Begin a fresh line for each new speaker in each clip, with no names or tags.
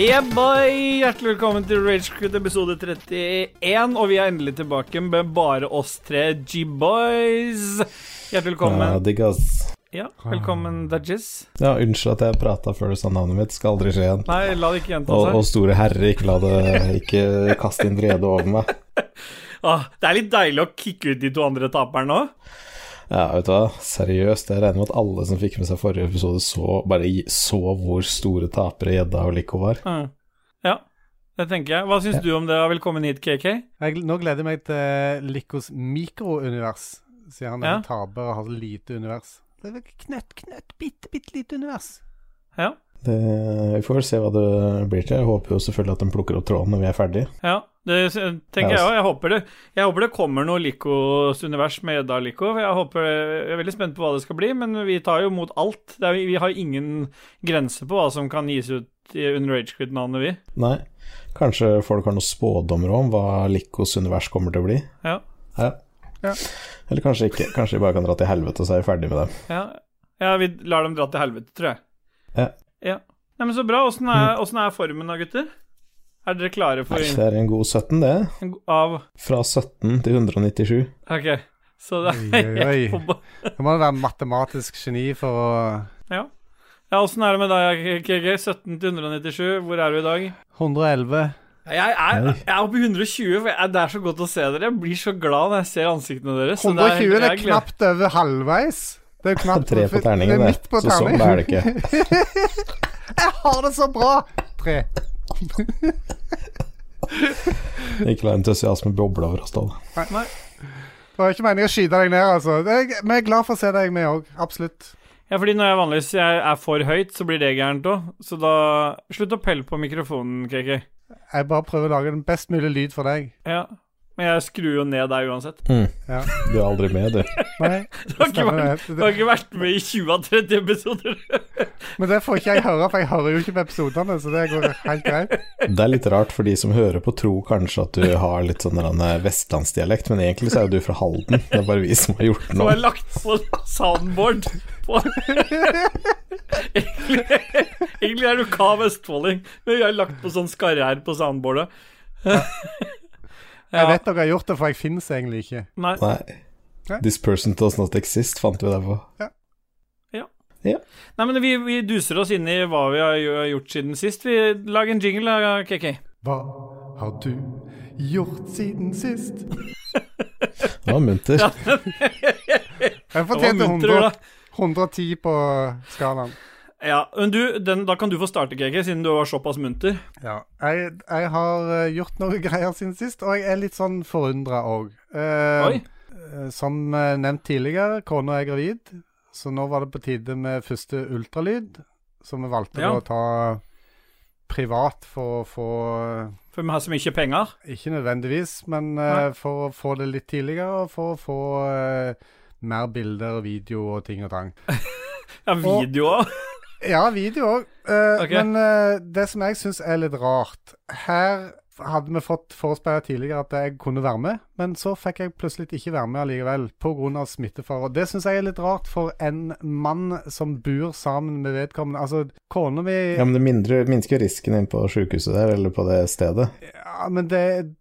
Yeah, boy! Hjertelig velkommen til Ragequit episode 31. Og vi er endelig tilbake med bare oss tre G-boys. Hjertelig
Ja,
velkommen.
digg, ass.
Ja, velkommen, Dudges.
Ja, unnskyld at jeg prata før du sa navnet mitt. Skal aldri skje igjen.
Nei, la det ikke gjenta
Og, og
seg.
store herre, ikke la det Ikke kaste din vrede over meg.
Åh, Ah, det er litt deilig å kicke ut de to andre taperne nå.
Ja, vet du hva, seriøst, jeg regner med at alle som fikk med seg forrige episode, så bare gi- så hvor store tapere gjedda og Lico var.
Mm. Ja, det tenker jeg. Hva syns du om det? og Velkommen hit, KK.
Jeg, nå gleder jeg meg til eh, Likos mikrounivers, siden han er
Ja.
en taper og har så lite univers. Det er vel knøtt, knøtt, bitte, bitte lite univers.
Ja.
Det, vi får se hva det blir til. Jeg håper jo selvfølgelig at de plukker opp tråden når vi er ferdig.
Ja, det s- eh, tenker jeg
Ja, altså.
òg. Jeg, håper det- jeg håper det kommer noe Likos univers med Edda Liko. for Jeg, håper, jeg er veldig spent på hva det skal bli, men vi tar jo mot alt. Det er, vi har ingen grense på hva som kan gis ut i- under Ragequit-navnet, vi.
Nei, kanskje folk har noen spådommer om hva Licos univers kommer til å bli?
Ja.
Ja.
Ja.
Eller kanskje ikke. Kanskje de bare kan dra til helvete, og så er vi ferdig med dem.
Ja, ja vi lar dem dra til helvete, tror jeg.
Ja.
ja. Nei, men Så bra. Åssen er, åssen er formen da, gutter? Er dere klare for
Nei, det er en god 17, det.
av
Fra 17 til 197.
OK, så det
Oi, oi, oi.
er på ba-
Da må du være matematisk geni for å
Ja. Ja, Åssen er det med deg, KG? 17 til 197, hvor er du i dag?
111.
Jeg er,
Nei.
jeg er oppe i 120, for jeg, det er så godt å se dere. Jeg blir så glad når jeg ser ansiktene deres. så
120 det er
jeg gleder-
knapt over halvveis. Det er jo knapt
Tre på terningen,
det.
det.
er midt på
Så sånn
terning.
er det ikke.
Jeg har det så bra! Tre.
Ikke la entusiasmen boble over oss, Ståle.
Nei,
Det var ikke meningen å skyte deg ned, altså. Det er- Vi er glad for å se deg, vi òg. Absolutt.
ja, fordi når jeg vanligvis jeg er for høyt, så blir det gærent òg. Så da Slutt å pelle på mikrofonen, KK.
Jeg bare prøver å lage den best mulig lyd for deg.
Ja. Men jeg skrur jo ned deg uansett.
Ja.
Du er aldri med, du.
Nei,
Du har ikke
stemmer
vært, du
det.
har ikke vært med i 20 av 30 episoder.
Men det får ikke jeg høre, for jeg hører jo ikke på episodene, så det går helt greit.
Det er litt rart, for de som hører på, tror kanskje at du har litt sånn der en vestlandsdialekt, men egentlig så er jo du fra Halden. Det er bare vi som har gjort den
Som
om.
er lagt på soundboard. På egentlig, egentlig er du kav østfolding, men vi har lagt på sånn skarre her på soundboardet.
Jeg vet dere har gjort det, for jeg finnes egentlig ikke.
Nei.
Nei. This person does not exist, fant vi det på.
Nei, men vi, vi duser oss inn i hå vi har gjo- gjort siden sist. Vi lager en jingle, da, KK.
Hva har du gjort siden sist?
Det var munter.
Jeg
Det var
fortjente
munter,
100,
da.
110 på skalaen.
Ja, men du, den, da kan du få starte, KK, siden du var såpass munter.
Ja. Jeg, jeg har eh, gjort noen greier siden sist, og jeg er litt sånn forundra òg.
Oi.
som eh, nevnt tidligere, kona er gravid, så nå var det på tide med første ultralyd, som vi valgte
Ja.
da å ta privat for å få
For vi har så mye penger.
Ikke nødvendigvis, men
Nei.
eh, for å få det litt tidligere, og for å få eh, mer bilder og video og ting og tang.
Ja, videoer.
Ja, video òg.
Ok.
Men eh, det som jeg syns er litt rart Her hadde vi fått forespeila tidligere at jeg kunne være med, men så fikk jeg plutselig ikke være med allikevel pga. smittefare. Og Det syns jeg er litt rart for en mann som bor sammen med vedkommende. Altså, kona mi
Ja, men det mindre, minsker risken inn på sjukehuset der, eller på det stedet.
Ja, men det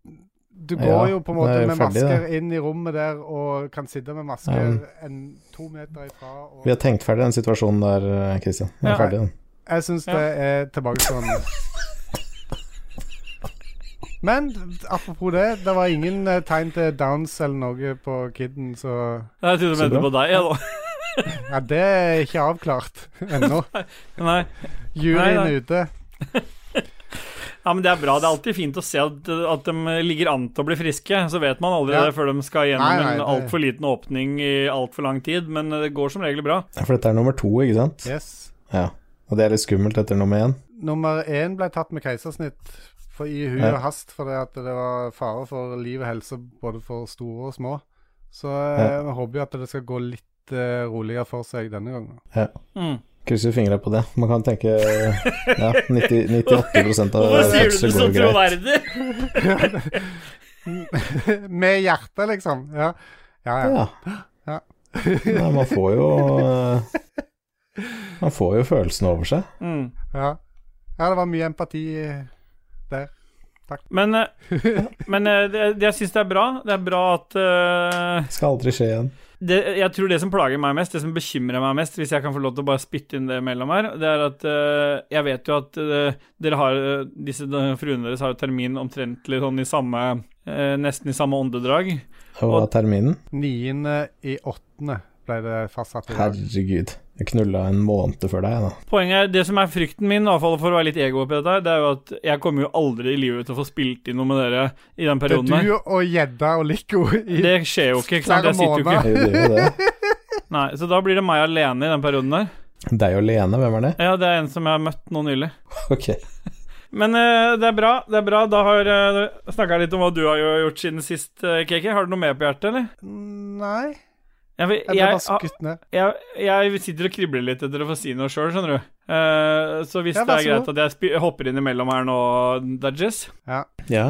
Du går
Ja,
jo på en
det
måte
er
med
ferdig,
masker inn i rommet der og kan sitte med masker
Ja.
en, to meter ifra. Og
Vi har tenkt ferdig den situasjonen der, Kristian. Vi
Ja.
er ferdig den.
jeg syns
Ja.
det er tilbakestående. Men apropos det, det var ingen eh, tegn til downs eller noe på kiden, så
Nei, Jeg trodde du
Så
mente
bra.
på deg, jeg, da.
Ja, det er ikke avklart ennå.
Nei.
Juryen
Nei,
er ute.
Ja, men det er bra. Det er alltid fint å se at, at de ligger an til å bli friske. Så vet man aldri
Ja.
det før de skal gjennom
Nei, nei,
en
det-
altfor liten åpning i altfor lang tid. Men det går som regel bra.
Ja, For dette er nummer to, ikke sant?
Yes.
Ja. Og det er litt skummelt etter nummer én.
Nummer én ble tatt med keisersnitt for i hui
Ja.
og hast fordi at det var fare for liv og helse både for store og små. Så
Ja.
eh, vi håper jo at det skal gå litt eh, roligere for seg denne gangen.
Mm.
Krysser fingra på det. Man kan tenke ja, 90, 98 av
Hvorfor sier du
øvelser
det så
går greit.
troverdig?
med hjertet, liksom. Ja, ja. ja.
Ja.
Ja.
Nei, man får jo eh, Man får jo følelsen over seg.
Mm.
ja. Ja, det var mye empati der.
Men, eh, men eh, det, det jeg syns det er bra, det er bra at eh,
Skal aldri skje igjen.
det, Jeg tror det som plager meg mest, det som bekymrer meg mest, hvis jeg kan få lov til å bare spytte inn det mellom her, det er at eh, jeg vet jo at eh, dere har eh, Disse eh, fruene deres har jo termin omtrentlig sånn i samme eh, Nesten i samme åndedrag.
Og hva er terminen?
Niende i åttende ble det fastsatt i dag.
Herregud. Jeg knulla en måned før deg, da.
Poenget er, Det som er frykten min, i hvert fall for å være litt ego oppi dette, her, det er jo at jeg kommer jo aldri i livet til å få spilt inn noe med dere i den
Det er
perioden. her.
du og gjedda og Lico i
Det skjer jo ikke. ikke sant?
flere
Jeg sitter jo ikke.
måneder.
Jeg gjorde jo det.
Nei, Så da blir det meg alene i den perioden der.
Deg og Lene, hvem er det?
Ja, det er en som jeg har møtt nå nylig.
Ok.
Men eh, det er bra. det er bra Da har uh, snakka litt om hva du har jo gjort siden sist, uh, Kiki. Har du noe mer på hjertet, eller?
Nei,
Jeg, vil-
jeg ble bare
jeg,
skutt ned.
jeg, jeg sitter og kribler litt etter å få si noe sjøl, skjønner du. Eh, så hvis
Ja,
det
vær
er
så
greit at jeg spi- hopper innimellom her nå, Dudges
Ja.
Ja.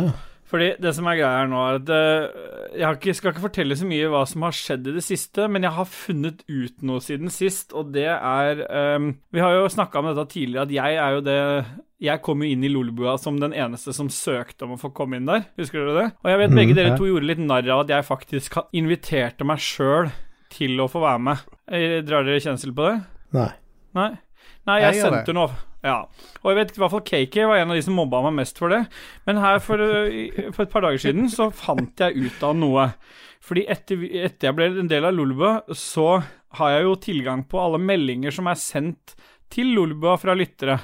Fordi det som er greia her nå, er at eh, jeg har ikke, skal ikke fortelle så mye hva som har skjedd i det siste, men jeg har funnet ut noe siden sist, og det er ehm, Vi har jo snakka om dette tidligere, at jeg er jo det Jeg kom jo inn i Lolebua som den eneste som søkte om å få komme inn der. Husker dere det? Og jeg vet begge
Mm,
dere
ja.
to gjorde litt narr av at jeg faktisk ha- inviterte meg sjøl til å få være med. Eh, Drar dere kjensel på det?
Nei.
Nei. Nei,
Jeg
jeg,
gjør
sendte noe. Ja. Og jeg vet i hvert fall KK var en av de som mobba meg mest for det. Men her for, øh, i- for et par dager siden så fant jeg ut av noe. Fordi etter, vi- etter jeg ble en del av Lolbua, så har jeg jo tilgang på alle meldinger som er sendt til Lolbua fra lyttere.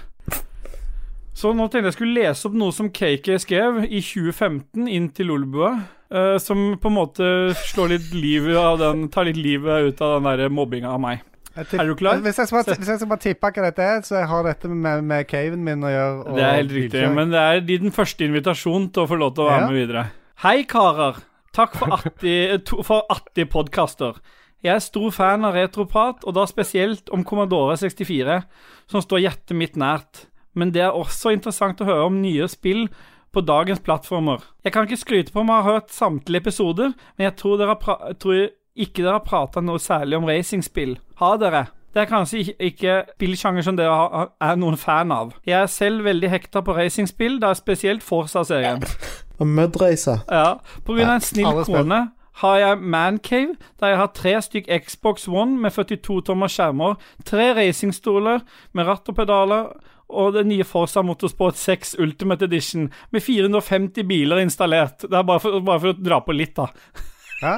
Så nå tenkte jeg skulle lese opp noe som KK skrev i 2015 inn til Lolbua. øh, som på en måte slår litt liv av den, tar litt livet ut av den der mobbinga av meg.
Jeg tipp-
Er du klar?
Hvis jeg skal bare, hvis jeg skal bare tippe hva dette er, så jeg har dette med, med caven min å gjøre. og
Det er helt riktig,
bilkjøring.
men det er din første invitasjon til å få lov til å være
Ja.
med videre. Hei, karer. Takk for 80, to- for 80 podkaster. Jeg er stor fan av retroprat, og da spesielt om Commodore 64, som står hjertet mitt nært. Men det er også interessant å høre om nye spill på dagens plattformer. Jeg kan ikke skryte på om jeg har hørt samtlige episoder, men jeg tror, dere har pra jeg tror ikke dere har prata noe særlig om racingspill. Har dere? Det er kanskje ik- ikke spillsjanger som dere har, er noen fan av. Jeg er selv veldig hekta på racingspill, da spesielt Forsa-serien.
Og Mudreisa.
Ja, på grunn av en snill
Alle spill.
kone har jeg Mancave, der jeg har tre stykk Xbox One med 42 tommer skjermer, tre racingstoler med ratt og pedaler, og det nye Forza Motorsport 6 Ultimate Edition med 450 biler installert. Det er bare for, bare for å dra på litt, da.
Ja?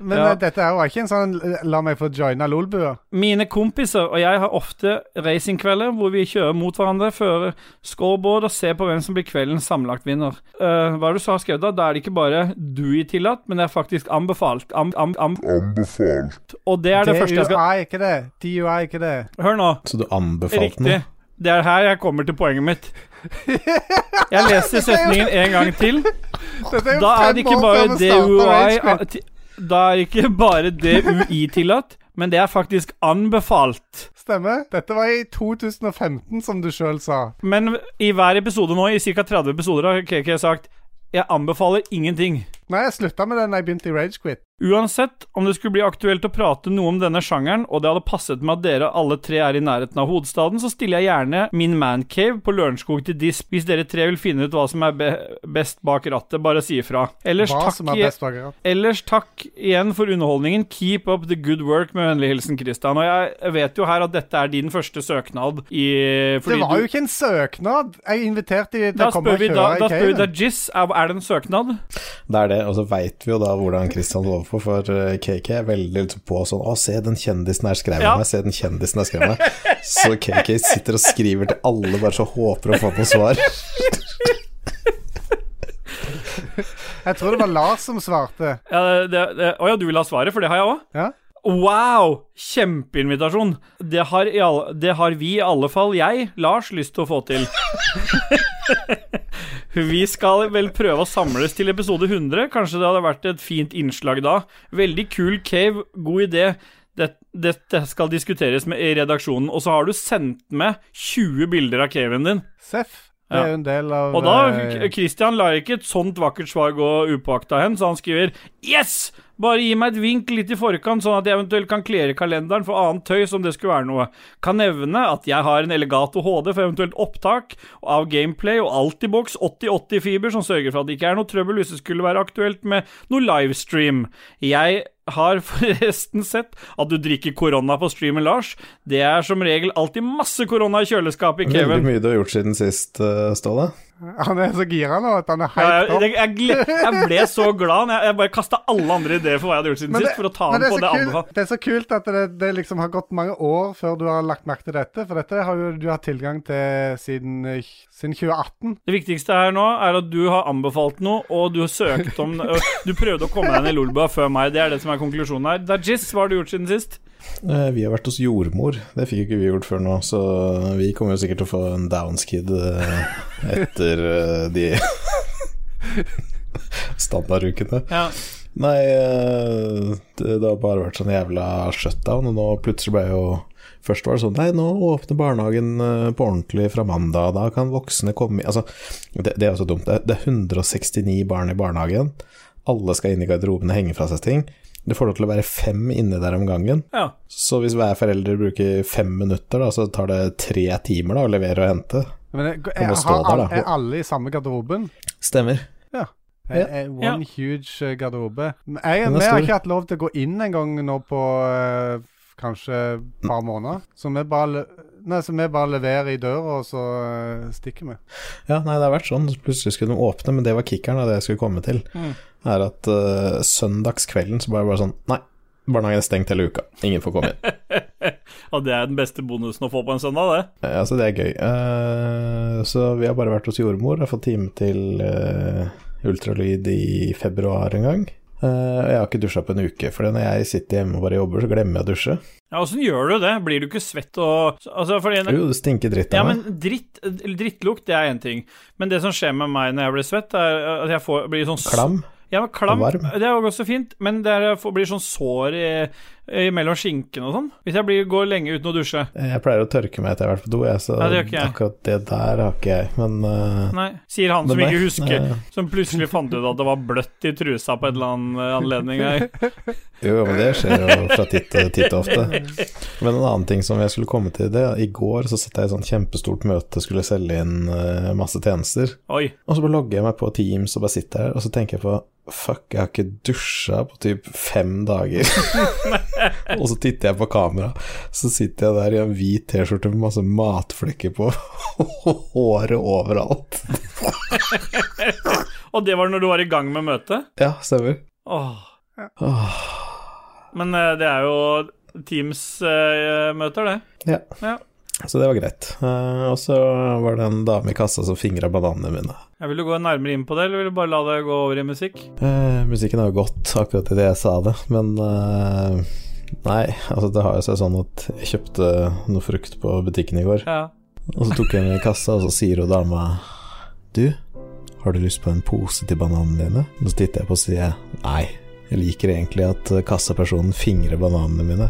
Men
Ja.
eh, dette er jo ikke en sånn eh, 'la meg få joina lolbua'.
Mine kompiser og jeg har ofte racingkvelder hvor vi kjører mot hverandre, fører scoreboard og ser på hvem som blir kveldens sammenlagtvinner. Uh, hva er det du har skrevet da? Da er det ikke bare du i tillatt, men det er faktisk anbefalt. Am, am, am. Anbefalt. Og det er det, første jeg skal
DUI, ikke det? DUI, ikke det?
Hør nå.
Så du anbefalte
Riktig.
noe?
Det er her jeg kommer til poenget mitt. Jeg leser setningen en gang til.
Dette er jo
Da er
fem
det ikke
år
bare
før vi starter Ragequit.
DUI Da er det ikke bare DUI tillatt, men det er faktisk anbefalt.
Stemmer. Dette var i 2015, som du sjøl sa.
Men i hver episode nå, i ca. 30 episoder, har KK sagt Jeg anbefaler ingenting.
Nei, jeg slutta med den da jeg begynte i Ragequit.
Uansett om det skulle bli aktuelt å prate noe om denne sjangeren, og det hadde passet med at dere alle tre er i nærheten av hovedstaden, så stiller jeg gjerne min mancave på Lørenskog til disp hvis dere tre vil finne ut hva som er be best bak rattet. Bare si ifra. Ellers,
Hva
takk
som er
i-
best bak ratt.
Ellers takk igjen for underholdningen. Keep up the good work, med vennlig hilsen Christian. Og jeg vet jo her at dette er din første søknad i
Det
fordi
var
du-
jo ikke en søknad! Jeg inviterte de til
da
å komme
spør
og
vi
kjøre
da, da
i
spør vi da
caven.
Jizz, er, er det en søknad?
Det er det, og så veit vi jo da hvordan Christian holder på, for eh, KK er veldig liksom på sånn Å, se, den kjendisen her skrev
Ja.
meg, se, den kjendisen her skrev meg. Så KK sitter og skriver til alle, bare så håper å få noe svar.
Jeg tror det var Lars som svarte.
Ja, det, det- det, å ja, du vil ha svaret, for det har jeg òg.
Ja?
Wow! Kjempeinvitasjon. Det har, i alle, det har vi, i alle fall jeg, Lars, lyst til å få til. Vi skal vel prøve å samles til episode 100. Kanskje det hadde vært et fint innslag da. Veldig kul cave, god idé. Det- Dette skal diskuteres med i redaksjonen. Og så har du sendt med 20 bilder av caven din.
Seff. Det er jo en del av
Og da,
eh,
Christian lar ikke et sånt vakkert svar gå upåakta hen, så han skriver Yes! Bare gi meg et vink litt i forkant, sånn at jeg eventuelt kan klere kalenderen for annet tøys om det skulle være noe. Kan nevne at jeg har en Elegato HD for eventuelt opptak av gameplay og Altibox 8080 fiber som sørger for at det ikke er noe trøbbel hvis det skulle være aktuelt med noe livestream. Jeg har forresten sett at du drikker korona på streamen, Lars. Det er som regel alltid masse korona i kjøleskapet, Kevin.
Veldig mye du har gjort siden sist, eh, Ståle.
Han er så gira nå at han er
Ja,
helt
jeg,
opp.
jeg, jeg, gle- jeg ble så glad når jeg, jeg bare kasta alle andre ideer for hva jeg hadde gjort siden sist, for å ta
men
den
det,
på det
er så
andre.
kult, det er så kult at det, det liksom har gått mange år før du har lagt merke til dette. For dette har jo du hatt tilgang til siden, eh, siden 2018.
Det viktigste her nå er at du har anbefalt noe, og du har søkt om ø, Du prøvde å komme deg ned i Lolbua før meg. Det er det som er konklusjonen her. Dajis, hva har du gjort siden sist?
Eh, Vi har vært hos jordmor, det fikk ikke vi gjort før nå, så vi kommer jo sikkert til å få en downskid eh, etter eh, de standardukene.
Ja.
Nei, eh, det, det har bare vært sånn jævla shutdown, og nå plutselig ble jo Først var det sånn Nei, nå åpner barnehagen eh, på ordentlig fra mandag, da kan voksne komme i Altså, det, det er jo så dumt. Det, det er 169 barn i barnehagen. Alle skal inn i garderobene og henge fra seg ting. Du får lov til å være fem inne der om gangen.
ja.
Så hvis hver forelder bruker fem minutter, da, så tar det tre timer da, å levere og hente.
Men jeg,
må
jeg,
stå
har,
der,
alle,
da.
er alle i samme garderoben?
Stemmer.
Det er One huge eh, garderobe. Men Jeg,
Den er
vi
stor.
har ikke hatt lov til å gå inn engang nå på eh, kanskje et par måneder. Så vi bare, le- nei, så vi bare leverer i døra, og så eh, stikker vi.
Ja, nei, det har vært sånn. Plutselig skulle de åpne, men det var kickeren av det jeg skulle komme til.
Mm.
Er at eh, søndagskvelden så ble det bare sånn Nei, barnehagen er stengt hele uka. Ingen får komme inn.
Og det er den beste bonusen å få på en søndag, det.
Eh, altså, det er gøy. Eh, så vi har bare vært hos jordmor og fått time til eh, ultralyd i februar en gang. Eh, og jeg har ikke dusja på en uke, for når jeg sitter hjemme og bare jobber, så glemmer jeg å dusje.
Ja, Åssen gjør du det? Blir du ikke svett og Altså, fordi
Jo, det stinker dritt
Ja,
av meg.
men dritt, drittlukt, det er én ting. Men det som skjer med meg når jeg blir svett, er at jeg får, blir sånn
Klam.
Ja, men klam,
Og varm.
Det er jo også fint, men det er, jeg får- blir sånn sår i, i mellom skinkene og sånn. Hvis jeg blir, går lenge uten å dusje.
Eh, Jeg pleier å tørke meg etter jeg har vært på do, jeg, så
Nei, det gjør ikke jeg.
akkurat det der har ikke jeg. Men eh,
Nei, sier han som
Men
ikke
nei,
husker,
nei.
som plutselig fant ut at det var bløtt i trusa på en eller annen eh, anledning. her.
jo, men det skjer jo fra titt til titt og ofte. Men en annen ting som jeg skulle komme til det, i går så satt jeg i et sånt kjempestort møte, skulle selge inn eh, masse tjenester,
Oi.
og så bare logger jeg meg på Teams og bare sitter her, og så tenker jeg på Fuck, jeg har ikke dusja på typ fem dager. og så titter jeg på kamera, så sitter jeg der i en hvit T-skjorte med masse matflekker på, og håret overalt.
Og det var når du var i gang med møtet?
Ja, stemmer.
Åh.
Åh.
Men eh, det er jo Teams-møter, det.
Ja.
Ja.
Så det var greit. Eh, og så var det en dame i kassa som fingra bananene mine.
Jeg Vil du gå nærmere inn på det, eller vil du bare la det gå over i musikk?
Eh, musikken har jo gått akkurat idet jeg sa det, men eh, Nei, altså det har jo seg sånn at jeg kjøpte noe frukt på butikken i går,
Ja.
og så tok jeg den i kassa, og så sier hun dama Du, har du lyst på en pose til bananene dine? Og så titter jeg på og sier nei. Jeg liker egentlig at kassapersonen fingrer bananene mine.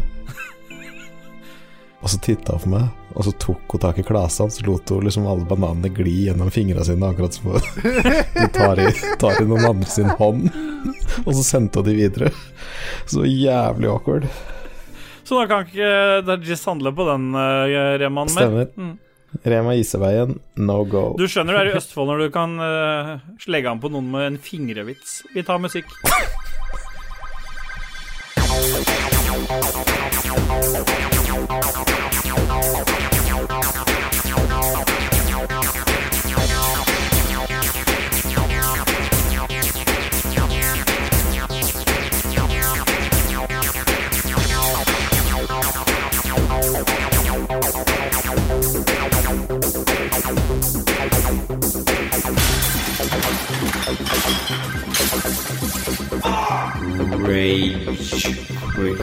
Og så titta hun på meg, og så tok hun tak i klesa hans, så lot hun liksom alle bananene gli gjennom fingra sine, akkurat som hun hun tar i, tar i noen andre sin hånd. Og så sendte hun de videre. Så jævlig awkward.
Så da kan ikke Dajis handle på den eh, remaen mer?
Stemmer.
Mm.
Rema Iseveien, no go.
Du skjønner det er i Østfold når du kan eh, slegge an på noen med en fingrevits. Vi tar musikk.
Rage quit.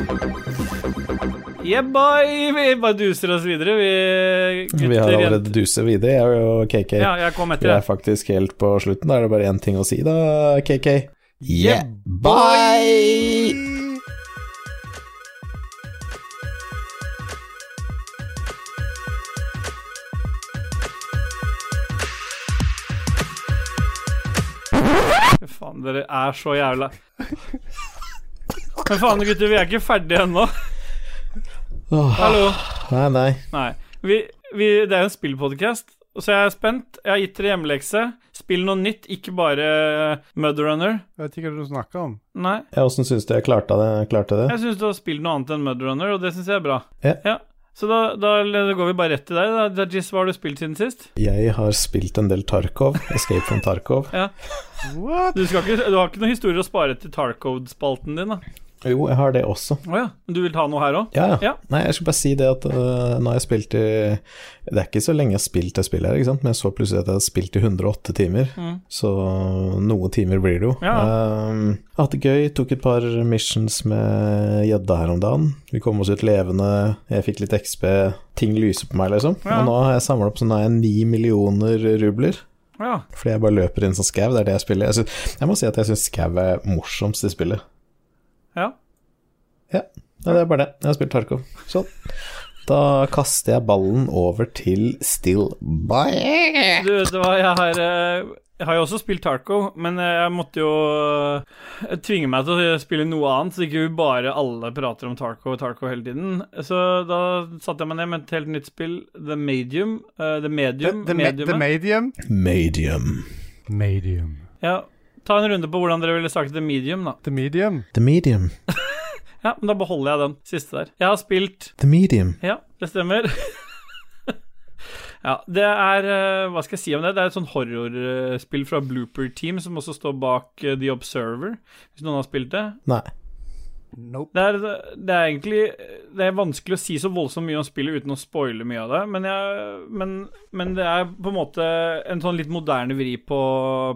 Yeah, boy! Vi bare duser oss videre, vi gutter.
Vi har
jenter.
allerede duset videre, jeg og KK.
Ja, jeg kom
Vi
etter
er
det.
faktisk helt på slutten. Da er det bare én ting å si, da, KK.
Yeah,
bye!
Dere er så jævla Men faen, gutter, vi er ikke ferdige ennå.
Åh,
Hallo.
nei, nei.
Nei. Vi, vi, det er jo en spillpodkast, så jeg er spent. Jeg har gitt dere hjemmelekse. Spill noe nytt, ikke bare eh, Mudrunner.
Jeg vet ikke hva du snakker om.
Nei.
Ja, Åssen syns du jeg klarte det? Klarte det?
Jeg syns du har spilt noe annet enn Mudrunner, og det syns jeg er bra.
Ja.
Så da, da går vi bare rett til deg. da. Dajis, hva har du spilt siden sist?
Jeg har spilt en del Tarkov. Escape from Tarkov.
What?
Du, skal ikke, du har ikke noen historie å spare til Tarcode-spalten din, da?
Jo, jeg har det også.
Å ja. Men du vil ta noe her òg?
Ja, ja.
Ja.
Nei, jeg skal bare si det at øh, nå har jeg spilt i Det er ikke så lenge jeg har spilt det spillet her, ikke sant, men jeg så plutselig at jeg hadde spilt i 108 timer.
Mm.
Så noen timer blir det jo.
Ja.
Ehm, hatt det gøy, tok et par missions med gjedda her om dagen. Vi kom oss ut levende, jeg fikk litt XB, ting lyser på meg, liksom.
Ja.
Og nå har jeg samla opp sånn nå har jeg ni millioner rubler.
Ja.
Fordi jeg bare løper inn som skau, det er det jeg spiller. Jeg, synes, jeg må si at jeg syns skau er morsomst i spillet.
ja.
Nei, det er bare det. Jeg har spilt Tarkov. Sånn. Da kaster jeg ballen over til Still Bye.
Du, det var jeg har eh, Jeg har jo også spilt Tarco, men eh, jeg måtte jo eh, tvinge meg til å spille noe annet, så ikke vi bare alle prater om Tarco og Tarco hele tiden. Så da satte jeg meg ned med et helt nytt spill, The Medium. eh, The
The,
Medium.
the, me- the
Mediumet.
medium?
Medium.
Medium.
ja, ta en runde på hvordan dere ville sagt The Medium, da.
The medium?
The medium.
Ja, men da beholder jeg den siste der. Jeg har spilt
The medium.
Ja, det stemmer. ja, det er eh, Hva skal jeg si om det? Det er et sånn horrorspill fra Blooper Team, som også står bak eh, The Observer, hvis noen har spilt det.
Nei.
Nope.
Det er, det er egentlig Det er vanskelig å si så voldsomt mye om spillet uten å spoile mye av det, men, jeg, men, men det er på en måte en sånn litt moderne vri på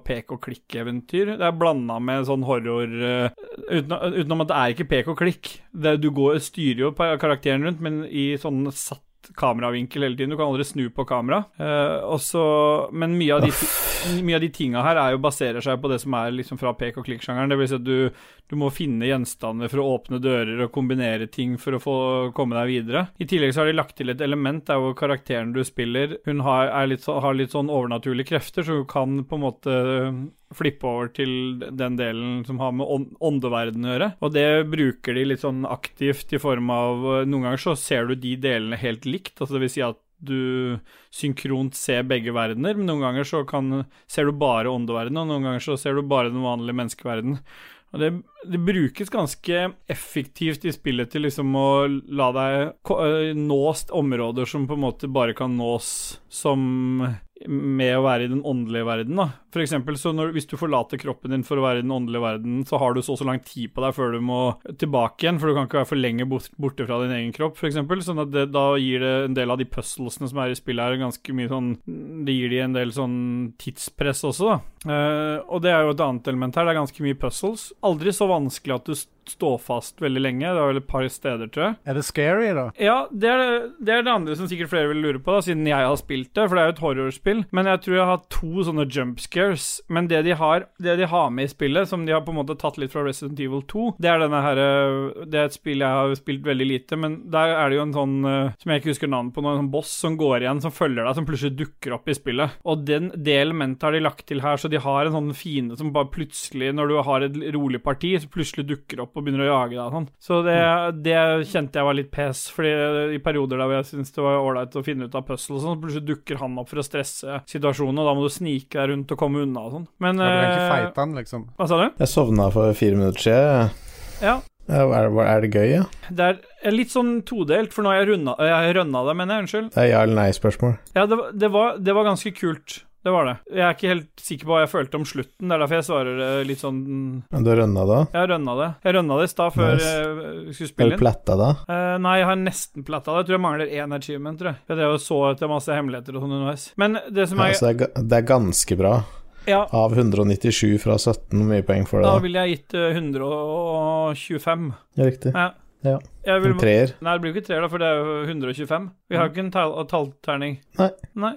pek og klikk-eventyr. Det er blanda med sånn horror eh, uten, Utenom at det er ikke pek og klikk. Det, du går, styrer jo pa- karakteren rundt, men i sånn satt kameravinkel hele tiden. Du kan aldri snu på kamera. Eh, og så- men mye av, de, ti- mye av de tinga her er jo baserer seg på det som er liksom fra pek og klikk-sjangeren. Det vil si at du, du må finne gjenstander for å åpne dører og kombinere ting for å få komme deg videre. I tillegg så har de lagt til et element der hvor karakteren du spiller, hun har, er litt, så- har litt sånn overnaturlige krefter, så hun kan på en måte eh, flippe over til den delen som har med ånd- åndeverdenen å gjøre. Og det bruker de litt sånn aktivt i form av eh, Noen ganger så ser du de delene helt likt, altså det vil si at du synkront ser begge verdener, men noen ganger så kan, ser du bare åndeverdenen, og noen ganger så ser du bare den vanlige menneskeverdenen. Og det, det brukes ganske effektivt i spillet til liksom å la deg ko- øh, nå st- områder som på en måte bare kan nås som med å være i den åndelige verden. Da. For eksempel, så når, hvis du forlater kroppen din for å være i den åndelige verden, så har du så og så lang tid på deg før du må tilbake igjen, for du kan ikke være for lenge bort, borte fra din egen kropp, f.eks. Sånn at det, da gir det en del av de puzzlesene som er i spillet her, ganske mye sånn Det gir de en del sånn tidspress også, da. Eh, og det er jo et annet element her, det er ganske mye puzzles. Aldri så vanskelig at du st- står fast veldig lenge, det er vel et par steder, tror jeg.
Er det scary, da?
Ja, det er det, det er det andre som sikkert flere vil lure på, da, siden jeg har spilt det. For det er jo et horrorspill. Men jeg tror jeg har to sånne jump scares. Men det de har, det de har med i spillet, som de har på en måte tatt litt fra Resident Evil 2, det er denne her øh, Det er et spill jeg har spilt veldig lite, men der er det jo en sånn øh, som jeg ikke husker navnet på, nå, en sånn boss som går igjen, som følger deg, som plutselig dukker opp i spillet. Og den, det elementet har de lagt til her, så de har en sånn fiende som bare plutselig, når du har et rolig parti, så plutselig dukker opp og begynner å jage deg og sånn. Så det,
Mm.
det kjente jeg var litt pes, fordi i perioder der hvor jeg syntes det var ålreit å finne ut av puzzle og sånn, så plutselig dukker han opp for å stresse situasjonen, og da må du snike deg rundt og komme unna og sånn. Men
Ja, du kan ikke
eh,
feite den, liksom.
Hva sa du?
Jeg sovna for fire minutter siden.
Ja.
Ja, Er, er det gøy, ja?
Det er litt sånn todelt, for nå har jeg runda, jeg runda det, mener jeg, unnskyld.
Det er ja eller nei-spørsmål.
Ja, det, var- det, var, det var ganske kult. Det var det. Jeg er ikke helt sikker på hva jeg følte om slutten. Det er derfor jeg svarer eh, litt sånn
Du har rønna da?
Jeg rønna det. Jeg rønna det i stad før
Nice.
eh, vi skulle
Eller
spille inn.
platta da?
Eh, nei, jeg har nesten platta det. Jeg tror jeg mangler én achievement, tror jeg. Jeg drev og så etter masse hemmeligheter og sånn underveis. Men det som
Ja,
er
så Altså, det er, ga- det er ganske bra.
Ja,
Av 197 fra 17, hvor mye poeng får du
da
da?
ville jeg gitt eh, 125.
Ja, Riktig.
Ja.
Ja.
Jeg vil,
En treer.
nei, det blir jo ikke tre, da, for det er jo 125. Vi har jo ikke en tall- tallterning.
Nei.
Nei.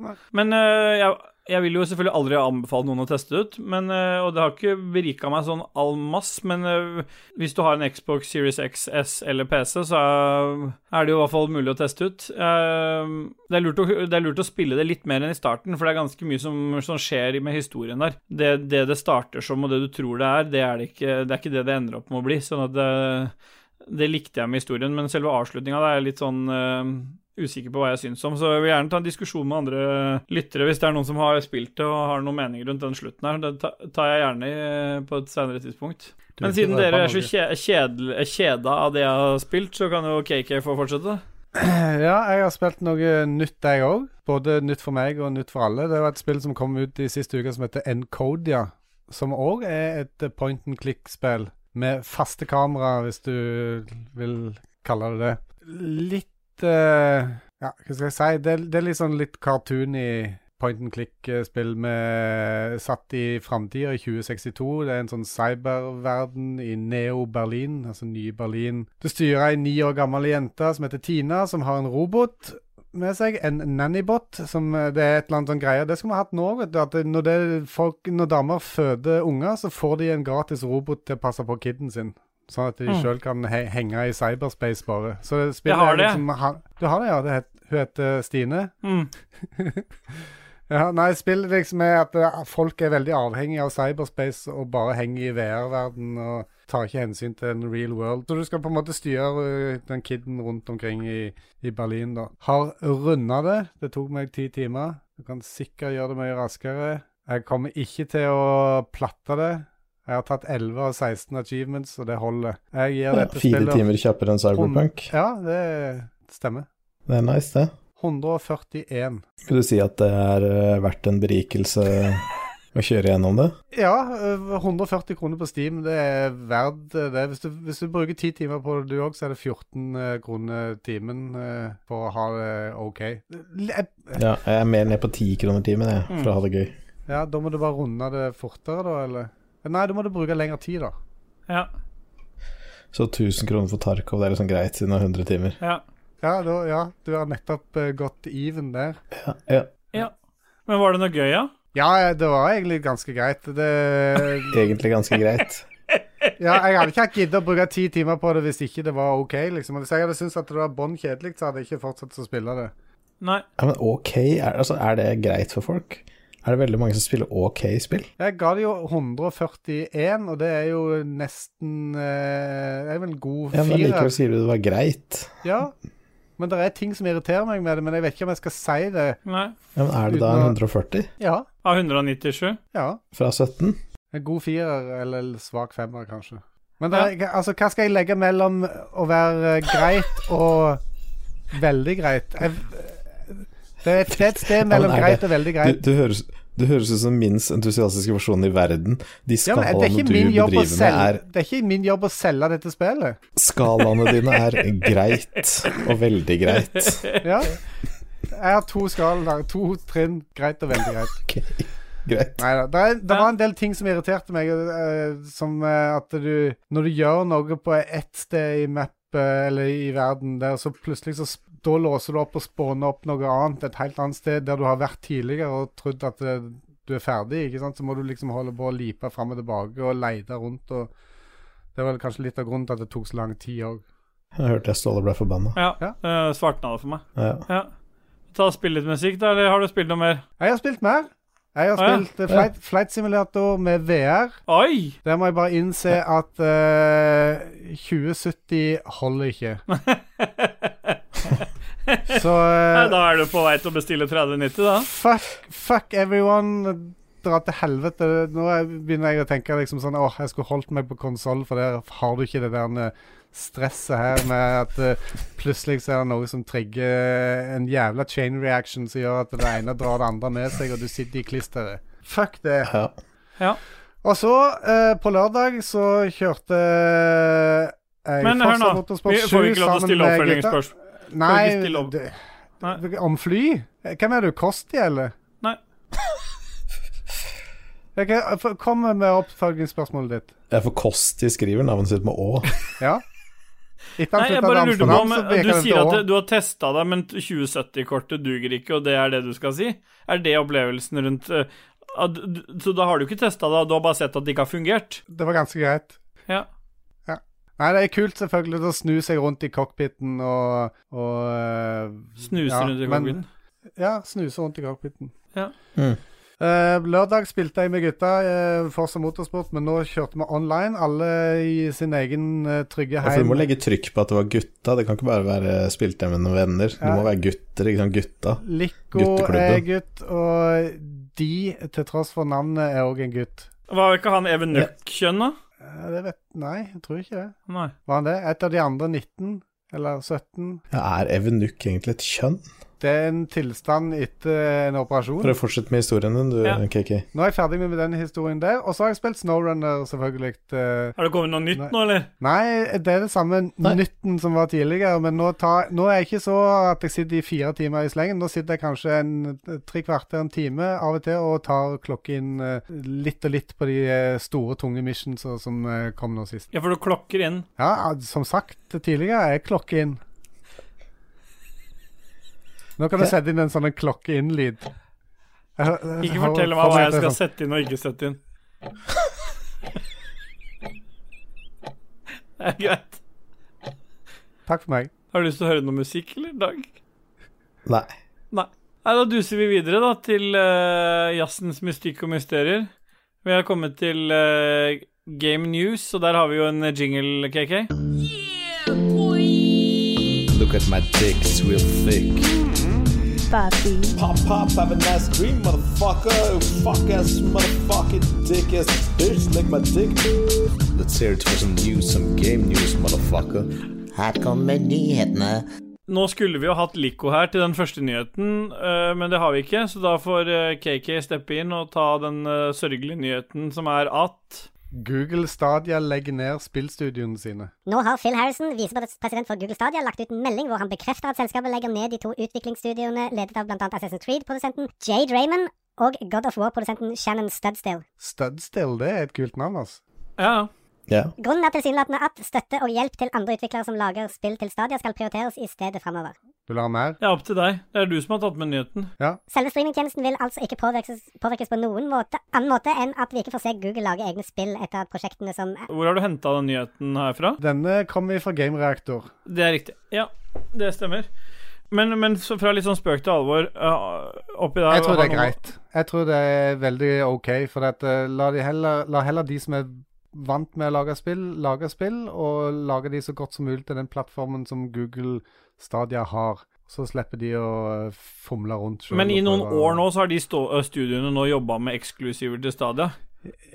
Nei.
Men eh, jeg, Jeg vil jo selvfølgelig aldri anbefale noen å teste ut, men, eh, og det har ikke berika meg sånn all mass, men eh, hvis du har en Xbox Series X, S eller PC, så er- er det jo i hvert fall mulig å teste ut. Eh, Det er lurt å, det er lurt å spille det litt mer enn i starten, for det er ganske mye som, som skjer med historien der. Det, det det starter som, og det du tror det er, det er, det ikke, det er ikke det det ender opp med å bli. sånn at det det likte jeg med historien, men selve avslutninga er jeg litt sånn eh, usikker på hva jeg syns om. Så jeg vil gjerne ta en diskusjon med andre lyttere hvis det er noen som har spilt det og har noen meninger rundt den slutten her. Det ta- tar jeg gjerne eh, på et senere tidspunkt.
Du
Men
vil ikke
siden
røpe
dere er så
noe.
kje- kjedel- kjeda av det jeg har spilt, så kan jo KK få fortsette.
Ja, jeg har spilt noe nytt, jeg òg. Både nytt for meg og nytt for alle. Det var et spill som kom ut i siste uke som heter Encodia. Som òg er et point and click-spill med faste kamera, hvis du vil kalle det det. Litt eh, Ja, hva skal jeg si? Det, det er litt sånn litt cartoony point and click-spill med satt i framtida, i 2062. Det er en sånn cyberverden i Neo-Berlin, altså nye Berlin. Du styrer ei ni år gammel jente som heter Tina, som har en robot med seg, en nannybot, som eh, det er et eller annet sånn greie. Det skulle vi hatt nå, vet du. At det- når, det folk, når damer føder unger, så får de en gratis robot til å passe på kiden sin. Sånn at de
Mm.
selv sjøl kan he henge i cyberspace, bare. Så det spillet
Jeg har
er
det.
Liksom, han, du har det, ja. Det het, hun heter Stine. Ja, nei, spillet liksom er at eh, folk er veldig avhengige av cyberspace og bare henger i VR-verden og tar ikke hensyn til en real world. Så du skal på en måte styre eh, den kiden rundt omkring i, i Berlin, da. Har runda det. Det tok meg ti timer. Du kan sikkert gjøre det mye raskere. Jeg kommer ikke til å platte det. Jeg har tatt 11 av 16 achievements, og det holder. Jeg gir
Ja,
dette
fire
spillet
timer kjappere enn Cyberpunk.
Ja, det stemmer.
Det er nice, det.
141.
Vil du si at det er eh, verdt en berikelse å kjøre gjennom det?
Ja, eh, 140 kroner på Steam, det er verdt eh, det. Hvis du, hvis du bruker 10 timer på det du òg, så er det 14 eh, kroner timen eh, for å ha det OK. L- eh,
Ja, jeg er mer ned på ti kroner timen, jeg, for å ha det gøy.
Ja, da må du bare runde det fortere, da, eller? Eh, Nei, da må du bruke lengre tid, da.
Ja,
Så 1000 kroner for Tarkov, det er liksom greit siden det er 100 timer.
ja.
Ja, da, ja du har nettopp eh, gått even der.
Ja, ja.
Men var det noe gøy, ja?
Ja, ja, det var egentlig ganske greit. Det,
Egentlig ganske greit.
Ja, jeg hadde ikke hatt giddet å bruke ti timer på det hvis ikke det var OK, liksom. Og Hvis jeg hadde syntes at det var bånn kjedelig, så hadde jeg ikke fortsatt å spille det.
Nei.
Ja, men ok, er, altså, er det greit for folk? Er det veldig mange som spiller ok spill?
Jeg ga det jo 141, og det er jo nesten eh, Det er vel en god
Ja, men
fire.
Likevel sier du det var greit.
Ja, men det er ting som irriterer meg med det, men jeg vet ikke om jeg skal si det.
Nei.
Ja, men er det da
Uten å-
140
Ja.
Av 197?
ja.
fra 17?
En god firer, eller svak femmer, kanskje. Men det er, altså, hva skal jeg legge mellom å være eh, greit og veldig greit? Jeg, det er det er et sted mellom
er det-
greit og veldig
Du,
greit.
du, høres, du høres ut som minst entusiastiske personen i verden. De
Ja, men det er
skalaene
ikke
du
min jobb å
bedriver med,
selge
er
Det er ikke min jobb å selge dette spillet.
Skalaene dine er greit, og veldig greit.
Ja. Jeg har to skalaer, to trinn. Greit og veldig greit.
Ok, greit.
Nei da. Det, er- det var en del ting som irriterte meg, eh, som eh, at du Når du gjør noe på ett sted i mappet eller i verden der, så plutselig så sp- da låser du opp og spåner opp noe annet et helt annet sted der du har vært tidligere og trodd at eh, du er ferdig, ikke sant? så må du liksom holde på å lipe fram og tilbake og lete rundt. og Det var vel kanskje litt av grunnen til at det tok så lang tid òg.
Jeg hørte jeg Ståle ble forbanna.
Ja.
Ja.
Eh, svartna det for meg.
Ja.
Ja. Ta og Spill litt musikk, da, eller har du spilt noe mer?
Jeg har spilt mer. Jeg har
Å, ja.
spilt eh, flight, flight Simulator med VR.
Oi!
Der må jeg bare innse at eh, 2070 holder ikke. Så
Nei,
eh,
da er du på vei til å bestille 3090, da.
fuck, fuck everyone. Dra til helvete. Nå er- begynner jeg å tenke liksom sånn Åh, jeg skulle holdt meg på konsoll, for der har du ikke det der eh, stresset her med at eh, plutselig så er det noe som trigger en jævla chain reaction som gjør at det ene drar det andre med seg, og du sitter i klisteret. Fuck det.
Ja.
Og så, eh, på lørdag, så kjørte jeg
Men hør nå,
Forza Motorsport
vi får
7
ikke lov til å
sammen
stille
med
oppfølgingsspørsmål.
gutta.
Får ikke stille
Nei,
opp-
det-
Nei.
om fly? Hvem er du, Kosti, eller?
Nei.
Jeg kan- f- Kom med oppfølgingsspørsmålet ditt.
Jeg får kost i skriver navnet sitt med Å.
Ja? Etter
Nei,
han
jeg
flytta til
bare lurer på
Amsterdam,
om
så peker
du
den
sier
til
at
år.
du har testa deg, men 2070-kortet duger ikke, og det er det du skal si? Er det opplevelsen rundt eh, at du- Så da har du ikke testa det, du har bare sett at det ikke har fungert?
Det var ganske greit.
Ja.
Nei, det er kult selvfølgelig å snu seg rundt i cockpiten og, og eh,
Snuser
Ja,
rundt i
men-
kongen?
Ja, snuse rundt i cockpiten.
Ja.
Mm.
Eh, lørdag spilte jeg med gutta uh, Forsa Motorsport, men nå kjørte vi online. Alle i sin egen eh, trygge
Ja, for du
heim.
må legge trykk på at det var gutta, det kan ikke bare være spilte jeg med noen venner. Det
Ja.
må være gutter, ikke sant. Gutta.
Lico
Gutteklubben.
er gutt, og de, til tross for navnet, er òg en gutt.
Var ikke han Even Nøkk-kjønn, da?
Eh, det vet Nei, jeg tror ikke det.
Nei.
Var han det? Et av de andre 19? Eller 17?
Ja, er evenukk egentlig et kjønn?
Det er en tilstand etter en operasjon.
For å fortsette med historien din, du,
Ja.
KK.
Nå er jeg ferdig med den historien der. Og så har jeg spilt Snowrunner, selvfølgelig. eh,
Har det kommet noe nytt
Nei.
nå, eller?
Nei, det er det samme
Nei.
nytten som var tidligere, men nå, tar- nå er jeg ikke så at jeg sitter i fire timer i slengen. Nå sitter jeg kanskje en, tre kvarter, en time av og til, og tar klokken eh, litt og litt på de eh, store, tunge missions og- som eh, kom nå sist.
Ja, for du klokker inn.
Ja, al- som sagt tidligere, jeg klokker inn. Nå kan du sette inn en sånn en klokke inn-lyd.
Ikke fortell meg hva jeg skal
sånn.
sette inn og ikke sette inn. Det er greit.
Takk for meg.
Har du lyst til å høre noe musikk, eller, Dag?
Nei.
Nei. Nei, da duser vi videre, da, til eh, jazzens mystikk og mysterier. Vi har kommet til eh, Game News, og der har vi jo en jingle, KK.
Look at my dicks real thick.
Papi,
Pop, pop, have a nice dream, motherfucker. Fuck ass, motherfucking dick ass bitch, lick my dick. Let's hear it for some news, some game news, motherfucker.
Her kommer nyhetene.
Nå skulle vi jo hatt Lico her til den første nyheten, eh, men det har vi ikke, så da får eh, KK steppe inn og ta den eh, sørgelige nyheten som er at
Google Stadia legger ned spillstudioene sine.
Nå har Phil Harrison, visepresident for Google Stadia, lagt ut en melding hvor han bekrefter at selskapet legger ned de to utviklingsstudioene ledet av bl.a. Assassin's Creed-produsenten Jade Raymond og God of War-produsenten Shannon Studstill.
Studstill, det er et kult navn, altså.
Ja,
Ja.
Grunnen er tilsynelatende at støtte og hjelp til andre utviklere som lager spill til Stadia, skal prioriteres i stedet framover.
Vil du ha mer?
det er opp til deg. Det er du som har tatt med nyheten.
Selve streamingtjenesten vil altså ikke påvirkes, påvirkes på noen måte, annen måte enn at vi ikke får se Google lage egne spill etter at prosjektene som
Hvor har du henta den nyheten herfra?
Denne kommer fra Game Reactor.
Det er riktig. Ja, det stemmer. Men, men så fra litt sånn spøk til alvor eh, oppi der
Jeg tror det
har
er
noen-
greit. Jeg tror det er veldig OK, for at, eh, la, de heller, la heller de som er vant med å lage spill, lage spill, og lage de så godt som mulig til den plattformen som Google Stadia har. Så slipper de å eh, fomle rundt selv
Men i
og
noen
prøve å-
år nå så har de stå- ø, studioene nå jobba med eksklusiver til Stadia.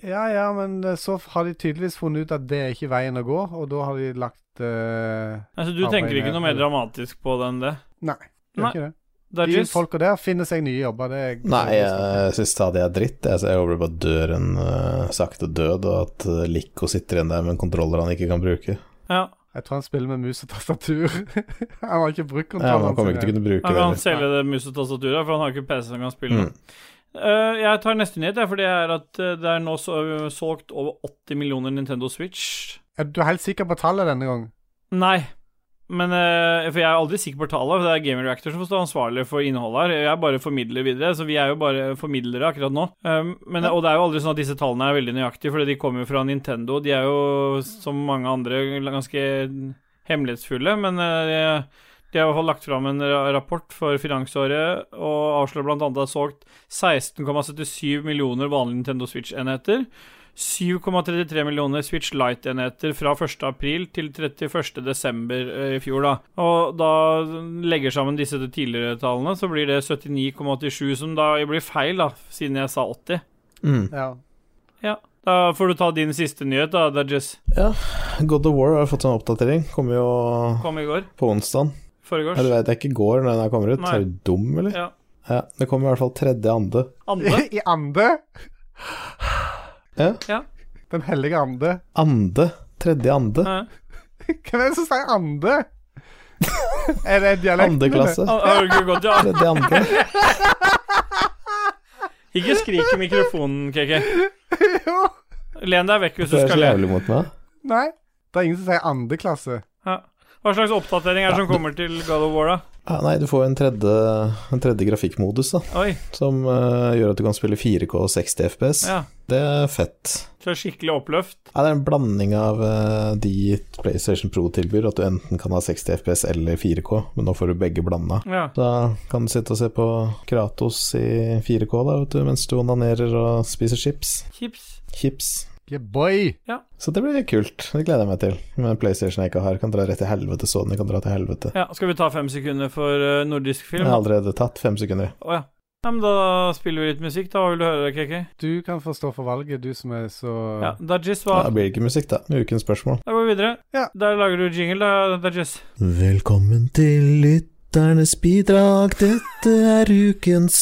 Ja, ja, men eh, så har de tydeligvis funnet ut at det er ikke veien å gå, og da har de lagt eh,
Altså, du
Arbeid
tenker ikke
med-
noe mer dramatisk på det enn det?
Nei. Det er
Nei.
ikke det. De
Dodges?
folka der finner seg nye jobber. Det er
Nei, eh, jeg syns stadig er dritt. Jeg jeg håper bare døren eh, sakte død, og at eh, Lico sitter igjen der med en kontroller han ikke kan bruke.
Ja.
Jeg tror han spiller med mus og tastatur. han har ikke brukt
Ja, men han kommer
kontrollene
ikke til å kunne bruke
Han
det.
kan
heller.
selge det mus og tastaturet, for han har ikke PC som kan spille det.
Mm.
Eh, jeg tar neste nyhet, jeg, for det er at eh, det er nå så, solgt over 80 millioner Nintendo Switch.
Er du helt sikker på tallet denne gang?
Nei. Men eh, For jeg er aldri sikker på tallet, for det er Gamer Reactor som får stå ansvarlig for innholdet her. Jeg bare formidler videre, så vi er jo bare formidlere akkurat nå. Um, men, og det er jo aldri sånn at disse tallene er veldig nøyaktige, for de kommer jo fra Nintendo. De er jo, som mange andre, ganske hemmelighetsfulle, men eh, de har i hvert fall lagt fram en ra- rapport for finansåret og avslører bl.a. at det er solgt 16,77 millioner vanlige Nintendo Switch-enheter. 7,33 millioner Switch Lite-enheter fra 1. april til 31. desember eh, i fjor. da. Og da legger sammen disse tidligere tallene, så blir det 79,87, som da blir feil, da, siden jeg sa 80.
Mm.
Ja.
Ja, Da får du ta din siste nyhet, da, Dudges.
Mm, God of War har fått en oppdatering. Kommer jo
Kom i går.
på onsdag.
Foregårs.
Eller vet jeg ikke går når den her kommer ut.
Nei.
Er du dum, eller?
Ja.
Ja, det kommer i hvert fall tredje ande.
Ande.
I ande?
Ja.
Ja.
Den hellige ande.
Ande. Tredje ande.
Ja.
Hvem er det som sier ande? er det dialekten?
Andre klasse.
Har du ikke gått ja?
Tredje andre.
Ikke skrik i mikrofonen, KK.
eller? Jo.
Len deg vekk hvis
Du
du
er så
skal le.
jævlig mot meg.
Nei. Det er ingen som sier andeklasse.
Ja. Hva slags oppdatering er det som kommer til God of War, da?
Ja, nei, du får en tredje, en tredje grafikkmodus, da,
Oi,
som eh, gjør at du kan spille 4K og 60 FPS.
ja.
Det er fett.
Så skikkelig oppløft.
Ja, det er en blanding av eh, de PlayStation Pro tilbyr, at du enten kan ha 60 FPS eller 4K, men nå får du begge blanda.
Ja.
Da kan du sitte og se på Kratos i 4K da, vet du, mens du onanerer og spiser chips.
Chips.
Chips.
Yeah, boy!
Så det blir kult. Det gleder jeg meg til. Men PlayStation jeg ikke har, kan dra rett til helvete. Sony kan dra til helvete.
Ja, skal vi ta fem sekunder for eh, nordisk
Jeg
film?
har
Å
allerede tatt fem sekunder.
ja. ja. Men da spiller vi litt musikk, da. Hva vil du høre, KK?
Du kan få stå for valget, du som er så
Ja, Dajis
Ja,
var
det blir ikke musikk, da. Ukens spørsmål.
Da går vi videre.
Ja.
Der lager du jingle, da, Dajis.
Velkommen til lytternes bidrag. Dette er ukens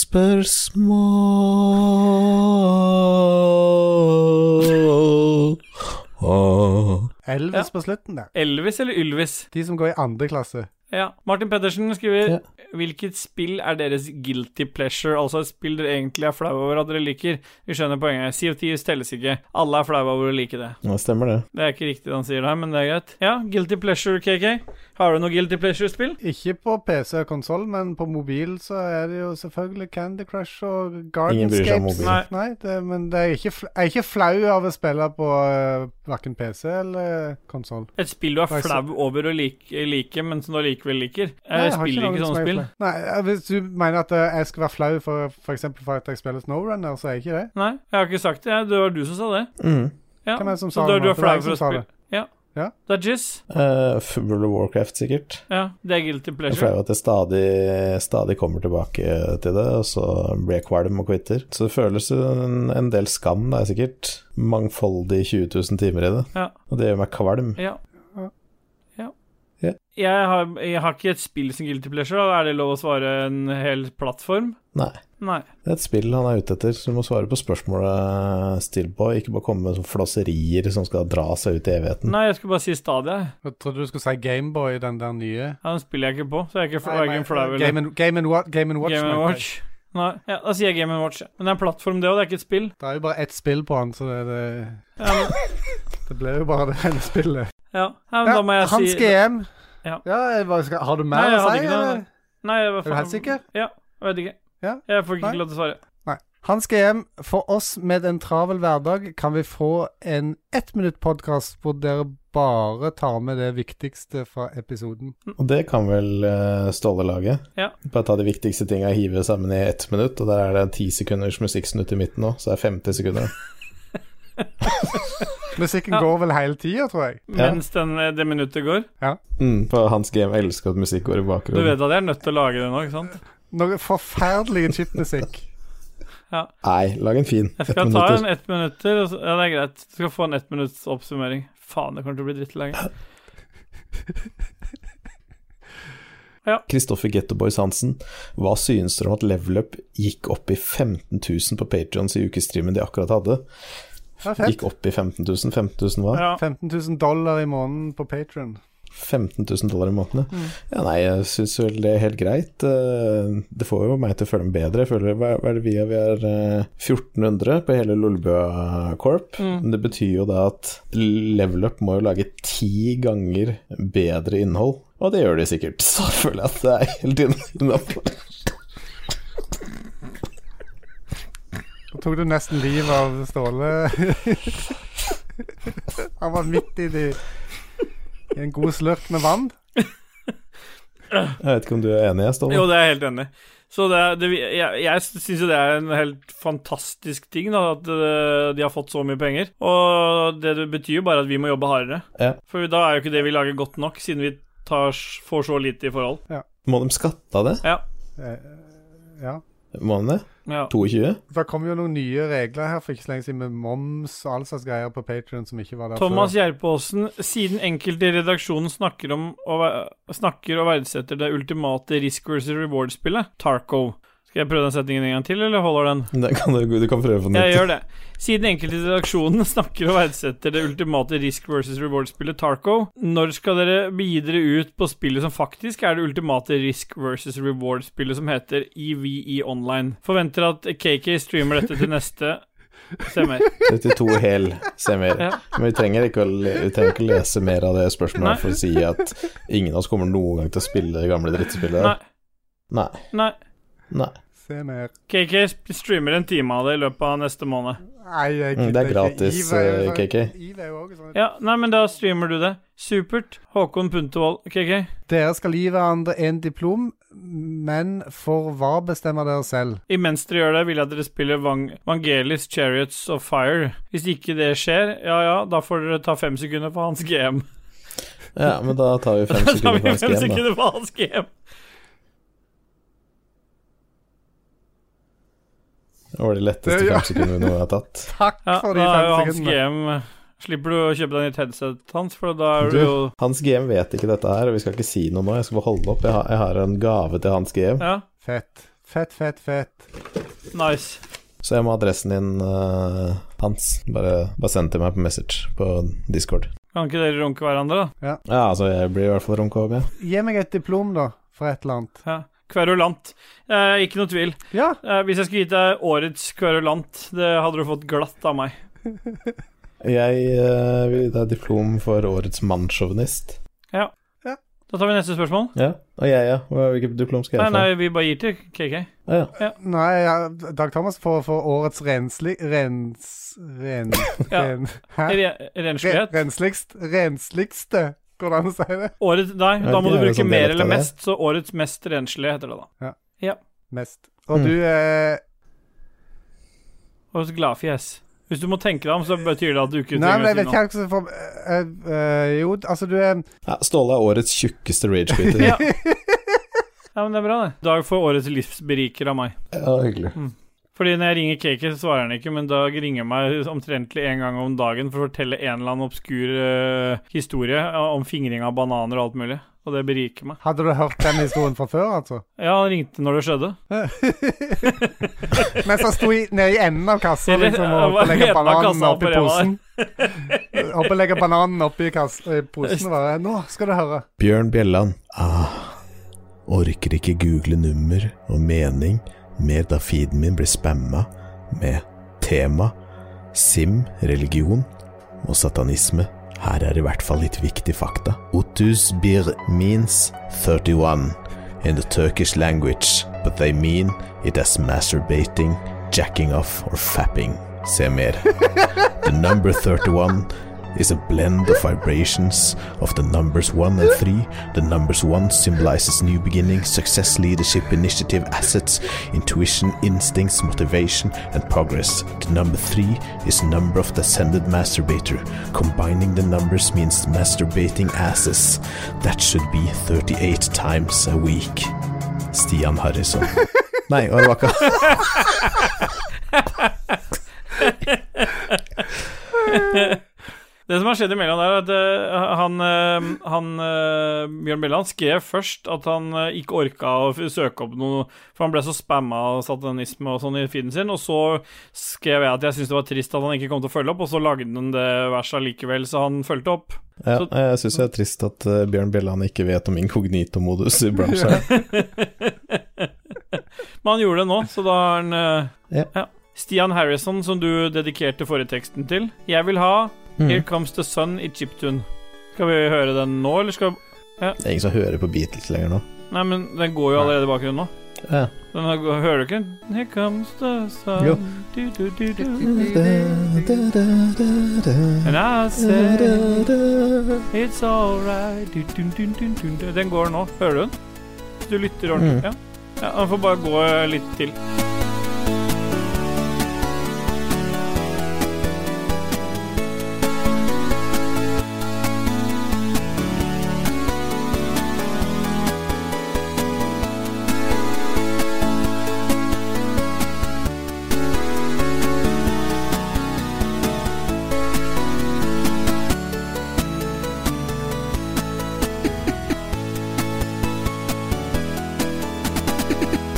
spørsmål.
Elvis på slutten der.
Elvis eller Ylvis?
De som går i andre klasse.
Ja. Martin Pettersen skriver Hvilket spill er deres guilty pleasure? Altså et spill dere egentlig er flau over at dere liker. Vi skjønner poenget. CO10 telles ikke. Alle er flau over å like det.
Ja, stemmer det.
Det er ikke riktig det han sier der, men det er greit. Ja, guilty pleasure, KK. Har du noe guilty pleasure-spill?
Ikke på PC og konsoll, men på mobil så er det jo selvfølgelig Candy Crush og
Ingen bryr seg om
Gardenscapes.
mobil.
Nei.
Nei, det, men det er ikke, fl- jeg er ikke flau av å spille på uh, verken PC eller konsoll.
Et spill du er
Nei, så-
flau over å like, like, men som du allikevel liker.
Nei,
Jeg
har
spiller
noen
ikke
som
sånne
jeg er
spill.
flau. Nei, eh, Hvis du mener at eh, jeg skal være flau for f.eks. For, at jeg spiller Snowrunner, så er jeg ikke det.
Nei, jeg har ikke sagt det. jeg. Det var du som sa det.
Mm.
Ja.
Hvem er det som
så
sa
da
det
er du
nå?
er
Det var
flau
jeg
for å
som sa
spille. Ja.
Ja.
Det er jizz.
Eh, World of Warcraft, sikkert.
Ja, det er guilty
Jeg er flau
pleasure.
at jeg stadig, stadig kommer tilbake til det, og så blir jeg kvalm og quitter. Så det føles jo en, en del skam, det er sikkert mangfoldig 20 000 timer i det.
Ja.
Og det gjør meg kvalm.
Ja. ja.
Ja.
Jeg, har, jeg har ikke et spill som guilty pleasure. Da. Er det lov å svare en hel plattform?
Nei.
Nei.
Det er et spill han er ute etter, så du må svare på spørsmålet, Stillboy. Ikke bare komme med sånne flåserier som skal dra seg ut i evigheten.
Nei, jeg skulle bare si Stadia. jeg.
Jeg trodde du skulle si Gameboy, den der nye.
Ja, den spiller jeg ikke på, så jeg er ikke fl- verken flau eller
Game and, Game and Wa- Game and Watch.
Game and
mente jeg.
Watch. Nei, ja, Da sier jeg Game and Watch. ja. Men det er en plattform, det òg. Det er ikke et spill.
Det er jo bare ett spill på han, så det, det,
Ja, men,
det ble jo bare det ene spillet.
ja. Ja, men da må jeg
han
si
skal hjem.
Ja.
jeg bare skal, har du
Nei,
mer
jeg
å
hadde
si?
ikke noe,
eller?
nei. Nei, jeg var
Er du helt sikker?
Ja, jeg vet ikke.
Ja?
Jeg får ikke
Nei.
lov til å svare.
Nei. Han skal hjem. For oss med en travel hverdag kan vi få en ettminutt-podkast hvor dere bare tar med det viktigste fra episoden.
Og det kan vel eh, Ståle lage.
Ja.
Bare ta de viktigste tinga og hive sammen i ett minutt, og der er det en ti sekunders musikksnutt i midten nå, så det er 50 sekunder.
Musikken
Ja.
går vel hele tida, tror jeg.
Ja.
Mens den, eh, det minuttet går.
Mm, på hans game elsker at musikk går i
Du
bakgrunnen.
vet at jeg er nødt til å lage det nå, ikke sant?
Noe forferdelig chipmusikk.
Nei, lag en fin.
Jeg
Ett
skal ta
minutter.
en ett minutter. og så- Ja, det er greit. Du skal få en ett minutts oppsummering. Faen, det kommer til å bli drittlang.
Kristoffer Getteboys Hansen, hva synes dere om at Level Up gikk opp i 15 000 på Patrions i ukestreamen de akkurat hadde?
Det er fett.
Gikk opp i 15 000? 15 000 hva?
Ja.
15 000 dollar i måneden på Patron.
15 000 dollar i måneden? ja. Ja, nei, jeg synes vel det er helt greit. Eh, Det får jo meg til å føle meg bedre. Jeg føler, hva hva er det vi er? Vi er eh, 1400 på hele Lolbø Corp. Men det betyr jo da at Level Up må jo lage ti ganger bedre innhold. Og det gjør de sikkert. Så føler jeg at det er helt innafor.
Nå tok du nesten livet av Ståle. Han var midt i, de, i en god slurk med vann.
Jeg vet ikke om du er enig, jeg, Ståle?
Jo, det er jeg helt enig i. Så det, er- det, jeg, jeg syns jo det er en helt fantastisk ting, da, at eh, de har fått så mye penger. Og det betyr jo bare at vi må jobbe hardere.
Ja.
For da er jo ikke det vi lager, godt nok, siden vi tar, s- får så lite i forhold.
Må de skatte av det?
Ja.
Ja.
Må de det?
ja.
22?
Det kom jo noen nye regler her for ikke så lenge siden med moms og all slags greier på Patron som ikke var der
Thomas
før.
Gjerpåsen, siden enkelte i redaksjonen snakker om og, snakker og verdsetter det ultimate risk versus reward-spillet, Tarco. Skal jeg prøve den setningen en gang til, eller holder den?
Det kan du, du kan prøve på nytt.
Jeg gjør det. Siden enkelte i redaksjonen snakker og verdsetter det ultimate risk versus reward-spillet Tarco, når skal dere begi dere ut på spillet som faktisk er det ultimate risk versus E reward-spillet som heter EVE Online? Forventer at KK streamer dette til neste Stemmer.
32 hel semmer.
Ja.
Men vi trenger, ikke å, le- vi trenger ikke lese mer av det spørsmålet
Nei.
for å si at ingen av oss kommer noen gang til å spille det gamle drittspillet.
Nei.
Nei.
Nei.
Nei.
Se mer.
KK sp- streamer en time av det i løpet av neste måned.
Nei, jeg
Mm, det
gidder
er
ikke.
gratis,
Eve er jo
eh,
sånn-
KK.
Eve er jo også sånn.
Ja, nei, men da streamer du det. Supert. Håkon Puntervold, KK.
Dere skal gi hverandre en diplom, men for hva bestemmer dere selv?
Imens dere gjør det, vil jeg at dere spiller Vang Vangelis Chariots of Fire. Hvis ikke det skjer, ja ja, da får dere ta fem sekunder på hans GM.
Ja, men da tar vi fem
Da tar vi fem
sekunder på hans game, da.
sekunder på hans GM.
Det var de letteste
Ja.
fem sekundene vi noen gang har tatt.
Takk
Ja,
for de
da er jo
fem
hans
sekundene.
GM Slipper du å kjøpe deg nytt headset hans, for da er du
Du.
jo
Hans GM vet ikke dette her, og vi skal ikke si noe nå. Jeg skal bare holde opp. Jeg har, jeg har en gave til hans GM,
Ja,
Fett. Fett, fett, fett.
nice.
så jeg må ha adressen din, eh, Hans. Bare, bare send til meg på message på Discord.
Kan ikke dere runke hverandre, da?
Ja, altså, jeg blir i hvert fall runka opp, jeg.
Gi meg et diplom, da, for et eller annet.
Ja. Kverulant. Eh, ikke noe tvil.
Ja,
Eh, hvis jeg skulle gitt deg årets kverulant, det hadde du fått glatt av meg.
Jeg eh, vil gi deg diplom for årets mannssjåvinist.
Da tar vi neste spørsmål.
Ja. Og jeg, ja. Hva- Hvilket diplom skal
Nei,
jeg få?
nei, vi bare gir til KK.
Å, ja.
Nei, ja, Dag Thomas får for årets rensli... Rens... Ren...
Ja.
ren hæ?
Re-
Re,
Renslighet.
rensligst? Rensligste? Går det an å si det?
Året, nei,
Jeg
da
vet
må du
ikke, er det
bruke
sånn
mer
dialekt
eller
av det?
mest, så årets mest renslige heter det da.
Mest. Og
Mm.
du eh,
Årets gladfjes. Hvis du må tenke deg om, så betyr det at du ikke
Nei,
trenger
men jeg
å si
vet
noe.
ikke hva som får eh, eh, Jo, altså, du er
ja. Ståle er årets tjukkeste ragequitter.
Ja. ja, men det er bra, det. Dag får årets livsberiker av meg.
ja, hyggelig.
Fordi når jeg ringer Kake, så svarer han ikke, men Dag ringer meg omtrentlig en gang om dagen for å fortelle en eller annen obskur eh, historie om fingring av bananer og alt mulig. Og det beriker meg.
Hadde du hørt den historien fra før, altså?
Ja, han ringte når det skjedde.
Mens han sto i, nede i enden av kassa
Eller-
liksom,
ja,
og
hva
opp og legge
heter den
bananen
kassa
oppi
på
posen. Opp og legge bananen oppi kass- i posen og bare Nå skal du høre.
Bjørn Bjelland. Ah, orker ikke google nummer og mening mer da feeden min blir spamma med tema, sim, religion og satanisme. Her er i hvert fall litt viktige fakta. Otus bir means 31 in the Turkish language, but they mean it as masturbating, jacking off or fapping. Se mer. The number 31 is a blend of vibrations of the numbers 1 and 3. The numbers 1 symbolizes new beginnings, success, leadership, initiative, assets, intuition, instincts, motivation, and progress. The number 3 is number of the ascended masturbator. Combining the numbers means masturbating asses. That should be 38 times a week. Stian Harrison. Nei, og det var ikke
Det som har skjedd imellom der, er at eh, han, eh, han eh, Bjørn Bjelland skrev først at han eh, ikke orka å f- søke opp noe, for han ble så spamma av satanisme og sånn i feeden sin, og så skrev jeg at jeg syntes det var trist at han ikke kom til å følge opp, og så lagde han det verset likevel, så han fulgte opp.
Ja, jeg syns det er trist at eh, Bjørn Bjelland ikke vet om inkognito-modus i bransjen.
Men han gjorde det nå, så da har han eh,
Ja.
ja. Stian Harrison, som du dedikerte forrige teksten til. Jeg vil ha Here Comes The Sun i Chiptune. Skal vi høre den nå, eller skal
Det er ingen som hører på Beatles lenger nå.
Nei, men den går jo allerede i bakgrunnen nå.
Ja.
Den her, går- hører du ikke? Here comes the sun
Jo.
du, du, du, du.
Da,
And I
da, da,
said
da.
it's alright du, du, du, du, du, du. Den går nå, hører du den? Du lytter ordentlig?
Mm.
Ja. ja. Han får bare gå eh, litt til.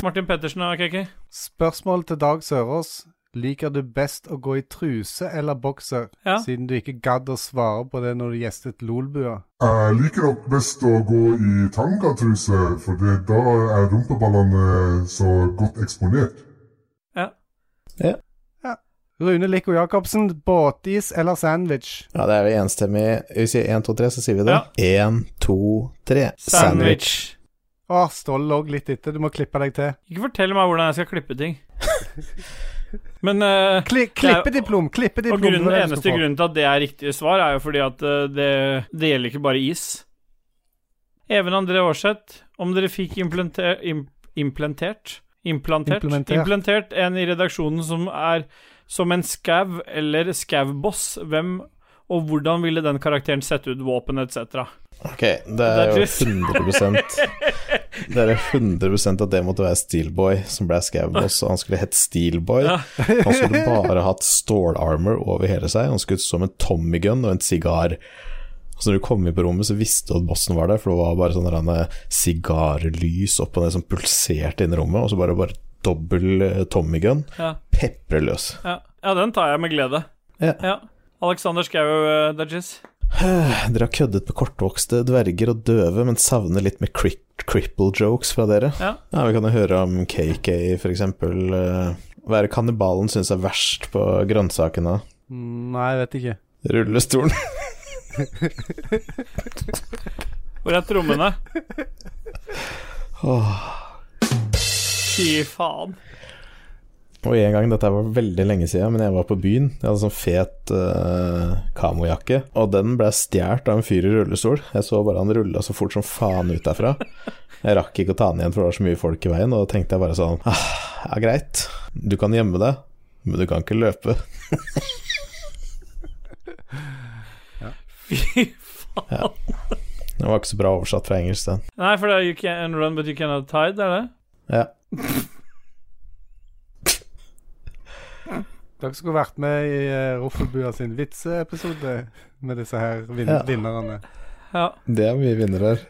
Martin Pettersen og KK.
Spørsmål til Dag Sørås. Liker du best å gå i truse eller bokser,
Ja.
siden du ikke gadd å svare på det når du gjestet Lolbua?
Jeg liker nok best å gå i tangatruse, for det, da er rumpeballene så godt eksponert.
Rune Lico Jacobsen, båtis eller sandwich?
Ja, det er vi enstemmig. Vi sier 1, 2, 3, så sier vi det.
Ja.
1, 2, 3.
Sandwich.
Åh, Ståle lå litt etter, du må klippe deg til.
Ikke fortell meg hvordan jeg skal klippe ting. Men eh,
Kli, klippediplom! Klippediplom!
og
det
grunnen,
var det du
eneste
skulle få.
grunnen til at det er riktig svar, er jo fordi at eh, det, det gjelder ikke bare is. Even André Aarseth, om dere fikk implante- im- implantert Implantert
Implementert.
Implantert en i redaksjonen som er som en skau eller skauboss, hvem og hvordan ville den karakteren sett ut, våpen etc.?
Ok, det er jo
Det er
100 Det er jo 100 at det måtte være Steelboy som ble Scavboss, og han skulle hett Steelboy. Han skulle bare hatt stålarmor over hele seg, han skulle ut som en Tommy Gun og en sigar. Så når du kom inn på rommet, så visste du at bossen var der, for det var bare sånn der, eh, sigarlys opp og ned som pulserte inn i rommet, og så bare, bare dobbel eh, Tommy Gun.
Ja.
Pepre løs.
Ja. ja, den tar jeg med glede.
Ja.
Alexander Schou, uh, Dudges.
Dere har køddet med kortvokste dverger og døve, men savner litt med cri cripple jokes fra dere.
Ja.
Vi kan jo høre om KK, for eksempel. eh, Hva er det kannibalen syns er verst på grønnsakene?
Mm, Nei, jeg vet ikke.
Rullestolen.
Hvor er trommene?
Åh.
Fy faen.
Og en gang, dette var veldig lenge siden, men jeg var på byen. Jeg hadde sånn fet eh, kamojakke, og den ble stjålet av en fyr i rullestol. Jeg så bare han rulla så fort som faen ut derfra. Jeg rakk ikke å ta den igjen, for det var så mye folk i veien, og da tenkte jeg bare sånn ah, Ja, greit, du kan gjemme deg, men du kan ikke løpe.
Fy faen.
Den var ikke så bra oversatt fra engelsk, den.
Nei, for det er You can run, but you cannot hide, er det?
Ja.
Dere skulle vært med i eh, Roffelbua sin vitseepisode med disse her vin
Ja.
vinnerne.
Ja.
Det er mye vinnere her.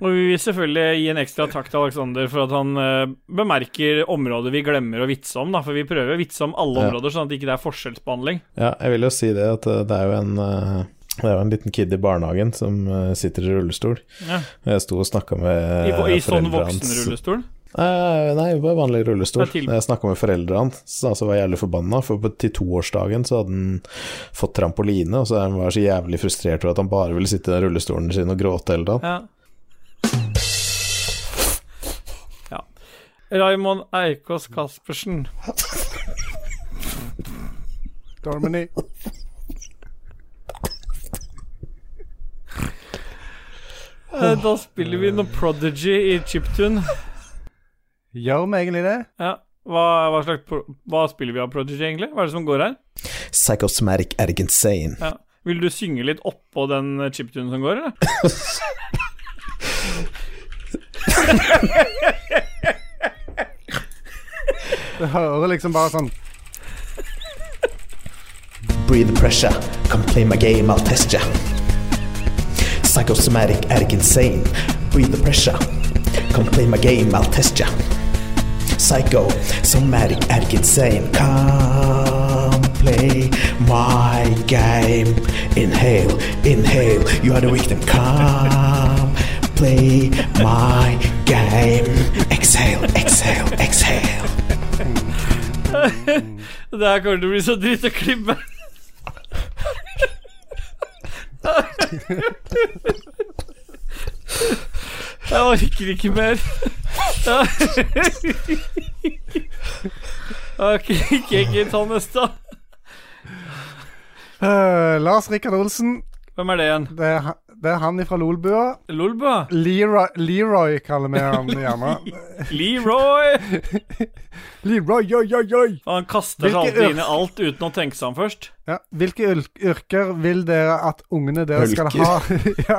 Og vi vil selvfølgelig gi en ekstra takk til Alexander for at han eh, bemerker områder vi glemmer å vitse om, da, for vi prøver å vitse om alle
Ja.
områder, sånn at det ikke er forskjellsbehandling.
Ja, jeg vil jo si det, at eh, det er jo en eh, det er jo en liten kid i barnehagen som eh, sitter i rullestol.
Ja.
Og Jeg sto og snakka med
I, i
eh,
sånn
foreldre hans.
voksenrullestol.
Eh, Nei, det var vanlig rullestol.
Det er til-
Jeg snakka med foreldrene hans, så altså var jeg jævlig forbanna. For på, til toårsdagen så hadde han fått trampoline, og så han var så jævlig frustrert over at han bare ville sitte i den rullestolen sin og gråte hele dagen.
Ja. ja. Raymond Eikås Caspersen.
Dormany.
Eh, Da spiller vi noe Prodigy i Chiptune.
Gjør vi egentlig det?
Ja. Hva, hva, slags pro hva spiller vi av Prodigy, egentlig? Hva er det som går her?
Psychosomatic Argentine.
Ja. Vil du synge litt oppå den eh, chiptunen som går, eller?
Det hører liksom bare sånn
Breathe pressure, come play my game, I'll test ya. Psychosomatic, addict, insane. Breathe the pressure, come play my game, I'll test ya. Psycho, somatic, addict, insane. Come play my game. Inhale, inhale, you are the victim. Come play my game. Exhale, exhale, exhale.
Det her kommer til å bli så dritt å klippe. Jeg orker ikke mer. Ok, ikke ikke ta neste.
Øh, Lars Rikard Olsen.
Hvem er det igjen?
Det er, ha- det er han ifra Lolbua.
Lolba?
Leroy, Leroy kaller vi ham gjerne.
Leroy?
Leroy, oi, oi, oi!
Han kaster seg
Hvilke
alltid
øl-
inn i alt uten å tenke seg om først.
Ja, hvilke yl- yrker vil dere at ungene deres skal
Ølker.
ha?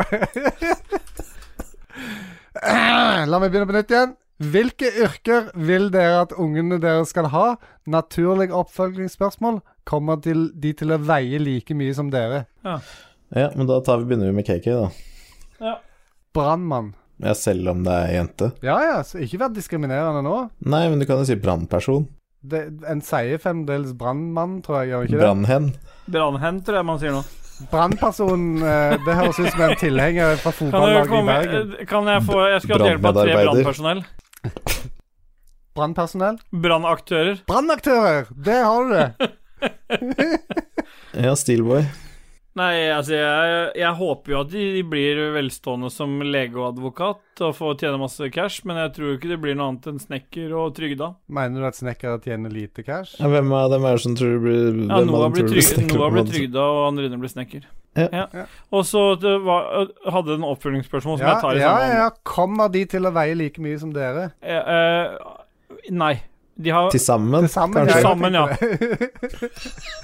Ja. La meg begynne på nytt igjen. Hvilke yrker vil dere at ungene deres skal ha? Naturlig oppfølgingsspørsmål. Kommer til, de til å veie like mye som dere?
Ja, men da tar vi, begynner vi med KK, da.
Brannmann.
Ja, selv om det er jente.
Ja ja, så ikke vær diskriminerende nå.
Nei, men du kan jo si brannperson.
Det, en sier fremdeles brannmann, tror jeg. gjør ikke det?
Brannhen.
Brannhen, tror jeg man sier nå.
Brannperson eh, Det høres ut som en tilhenger fra
Kan, du
fotballaget i
komme, eh,
Bergen.
kan jeg få Jeg skulle hatt hjelp av tre
Brannmedarbeider.
brannpersonell.
Brannpersonell.
Brannaktører.
Brannaktører! Der har du det.
Ja, Steelboy.
Nei, altså jeg, jeg håper jo at de, de blir velstående som lege og advokat og får tjene masse cash, men jeg tror jo ikke det blir noe annet enn snekker og trygda.
Mener du at snekkere tjener lite cash?
Ja, hvem av dem er det som tror det blir
Ja,
hvem av
Noah
dem
blir,
tror det
trygg, Noah
stikker på
blir
banen?
trygda, og han Rune blir snekker.
Ja.
Ja.
Og så det var- hadde du en oppfølgingsspørsmål som
Ja,
jeg tar i
ja,
samme
ja. Kommer de til å veie like mye som dere?
Eh, eh, nei. De har
Til sammen,
Til sammen,
kanskje?
ja. Sammen,
tenkte det.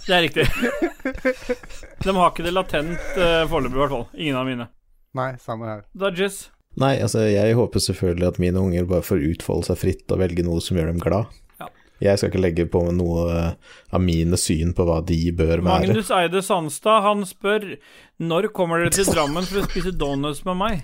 Det er riktig. De har ikke det latent eh, foreløpig, i hvert fall. Ingen av mine.
Nei, samme her.
Dodges.
Nei, altså, jeg håper selvfølgelig at mine unger bare får utfolde seg fritt og velge noe som gjør dem glad.
Ja.
Jeg skal ikke legge på noe eh, av mine syn på hva de bør være.
Magnus Eide Sandstad, han spør når kommer dere til Drammen for å spise donuts med meg?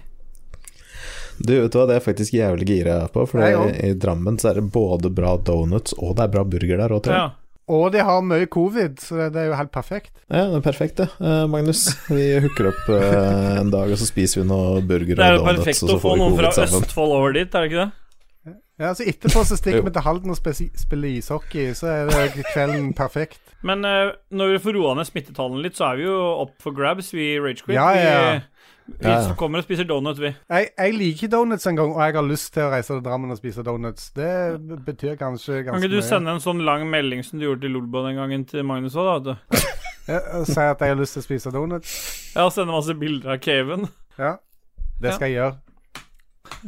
Du vet hva, det er jeg faktisk jævlig gira på, for
Jeg
det, i Drammen så er det både bra donuts og det er bra burger der òg, tror jeg.
Ja.
Og de har mye covid, så det, det er jo helt perfekt.
Ja, det er perfekt, det, eh, Magnus. Vi hooker opp eh, en dag, og så spiser vi noe burger
Det er
og
jo
donuts,
perfekt
og
å
så
få
får vi
noen fra
covid sammen.
Østfold over dit, er det ikke det?
Ja, så Etterpå så stikker
Jo.
vi til Halden og spesi- spiller ishockey, så er det kvelden perfekt.
Men eh, når vi får roa ned smittetallene litt, så er vi jo opp for grabs, vi i Rage Quit.
Ja, ja, ja.
Vi, vi
Ja, ja.
kommer og spiser donut, vi.
Jeg, jeg liker ikke donuts en gang, og jeg har lyst til å reise til Drammen og spise donuts. Det b- betyr kanskje
Kan
ganske
ikke du
mye.
sende en sånn lang melding som du gjorde til Lolbo den gangen, til Magnus òg, da? vet du?
Ja, og Si at jeg har lyst til å spise donuts.
Ja, og sende masse bilder av caven.
Ja,
Ja.
det skal jeg gjøre.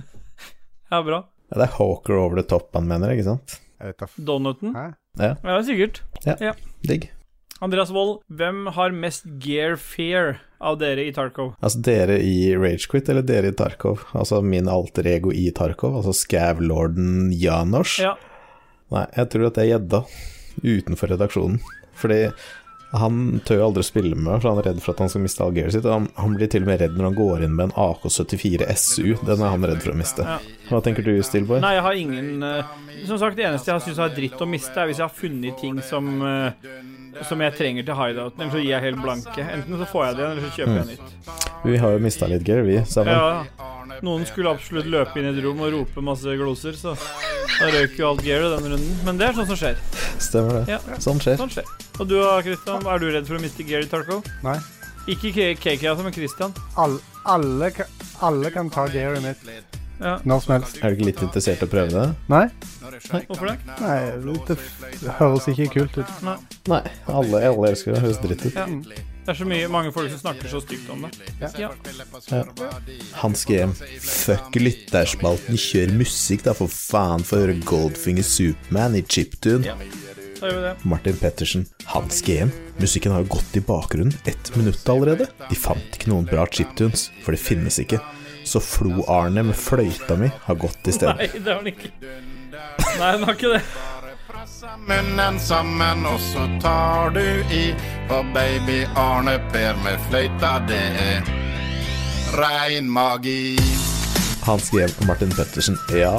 Ja, bra.
Ja, det er Hawker over the top han mener, ikke sant?
Jeg vet da f...
Donuten.
Hæ?
Ja, sikkert.
Digg.
Andreas Wold, hvem har mest gear fear av dere i Tarkov?
Altså dere i Ragequit eller dere i Tarkov? Altså min alter ego i Tarkov, altså Scavlorden Janosch?
Ja.
Nei, jeg tror at det er gjedda utenfor redaksjonen. Fordi han tør jo aldri å spille med, for han er redd for at han skal miste all gearet sitt. og Han, han blir til og med redd når han går inn med en AK-74 SU. Den er han redd for å miste.
Ja.
Hva tenker du, Steelboy?
Nei, jeg har ingen eh, Som sagt, det eneste jeg syns er dritt å miste, er hvis jeg har funnet ting som eh, Som jeg trenger til hideouten, eller så gir jeg helt blanke. Enten så får jeg det igjen, eller så kjøper jeg nytt.
Vi har jo mista litt gear, vi sammen.
Mm. Ja, noen skulle absolutt løpe inn i et rom og rope masse gloser, så da røyk jo alt gearet den runden. Men det er sånn som skjer.
Stemmer det.
Ja,
Sånn skjer.
sånn skjer. Og du da, Christian, er du redd for å miste gear i Tarkov?
Nei.
Ikke K- KK, altså, men Christian.
All, alle, ka- alle kan ta gearet mitt
Ja.
når som helst.
Er du ikke litt interessert i å prøve det?
Nei?
Hvorfor det?
Nei, det, f- det høres ikke kult ut.
Nei.
Nei, alle, alle elsker det. Høres dritt ut.
Ja. Det er så mye, mange folk som snakker så stygt om det. Ja.
Han skrev Fuck lytterspalten, kjør musikk da, for faen, få høre Goldfinger Superman i chiptune.
Ja. Da gjør vi det.
Martin Pettersen, han skrev Musikken har jo gått i bakgrunnen ett minutt allerede. De fant ikke noen bra chiptunes, for det finnes ikke. Så Flo-Arne med fløyta mi har gått i stedet.
Nei, det har den ikke. Nei, den har ikke det.
munnen sammen, og så tar du i på baby Arne Per med fløyta. Det er rein magi.
Han skrev Martin Pettersen, ja.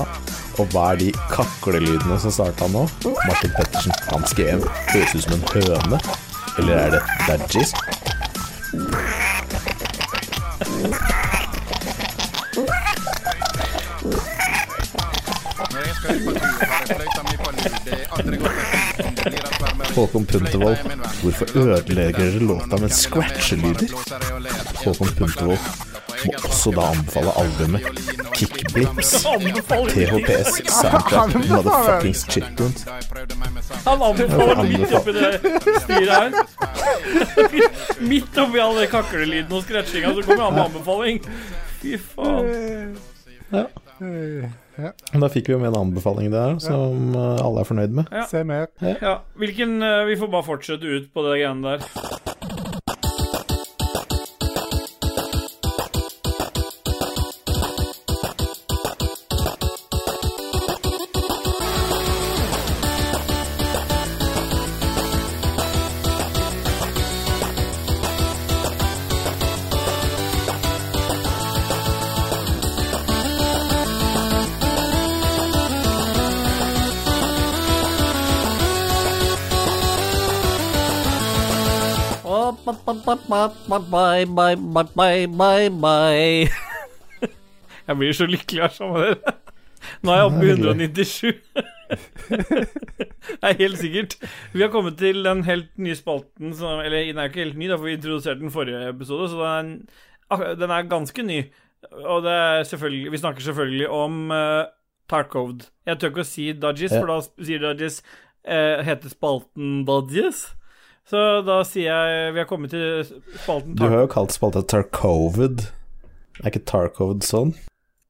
Og hva er de kaklelydene som starta nå? Martin Pettersen, han skrev Høres ut som en høne. Eller er det dadgies?
Når jeg skal ut på tur, har jeg fløyta mi på lur. Det er aldri godt med tid om det blir at varmere.
Håkon Puntervold,
Fløyta er min venn.
hvorfor ødelegger dere låta med scratchelyder?
Blåser jeg og ler.
Håkon Puntervold må også da anbefale albumet Kickblips, THPS, Soundtrack, Motherfuckings Chiptunes.
Da jeg prøvde meg med samme
Han anbefaler
Han
midt oppi det styret her. Midt oppi all den kaklelyden og scratchinga, så kommer han med anbefaling. Fy faen.
Eh,
Da fikk vi jo med en anbefaling der som eh, alle er fornøyd med.
Ja.
Se mer.
Ja, hvilken eh, Vi får bare fortsette ut på det greiene der. Oh, ba- ba- ba- ba- ba- bye, bye, bye, bye, bye, bye. Jeg blir så lykkelig her sammen med dere. Nå er jeg oppe i
hyggelig.
197. Det er helt sikkert. Vi har kommet til den helt nye spalten som Eller den er jo ikke helt ny, da, for vi introduserte den forrige episode, så den er, ak- den er ganske ny. Og det er selvfølgelig Vi snakker selvfølgelig om uh, Tarkovd. Jeg tør ikke å si Dodges,
Ja.
for da sp- sier Dodges eh, Heter spalten Dodges? Så da sier jeg Vi har kommet til spalten
Du
Tarkovd.
har jo kalt spalta Tarkovid. Er ikke Tarkovid sånn?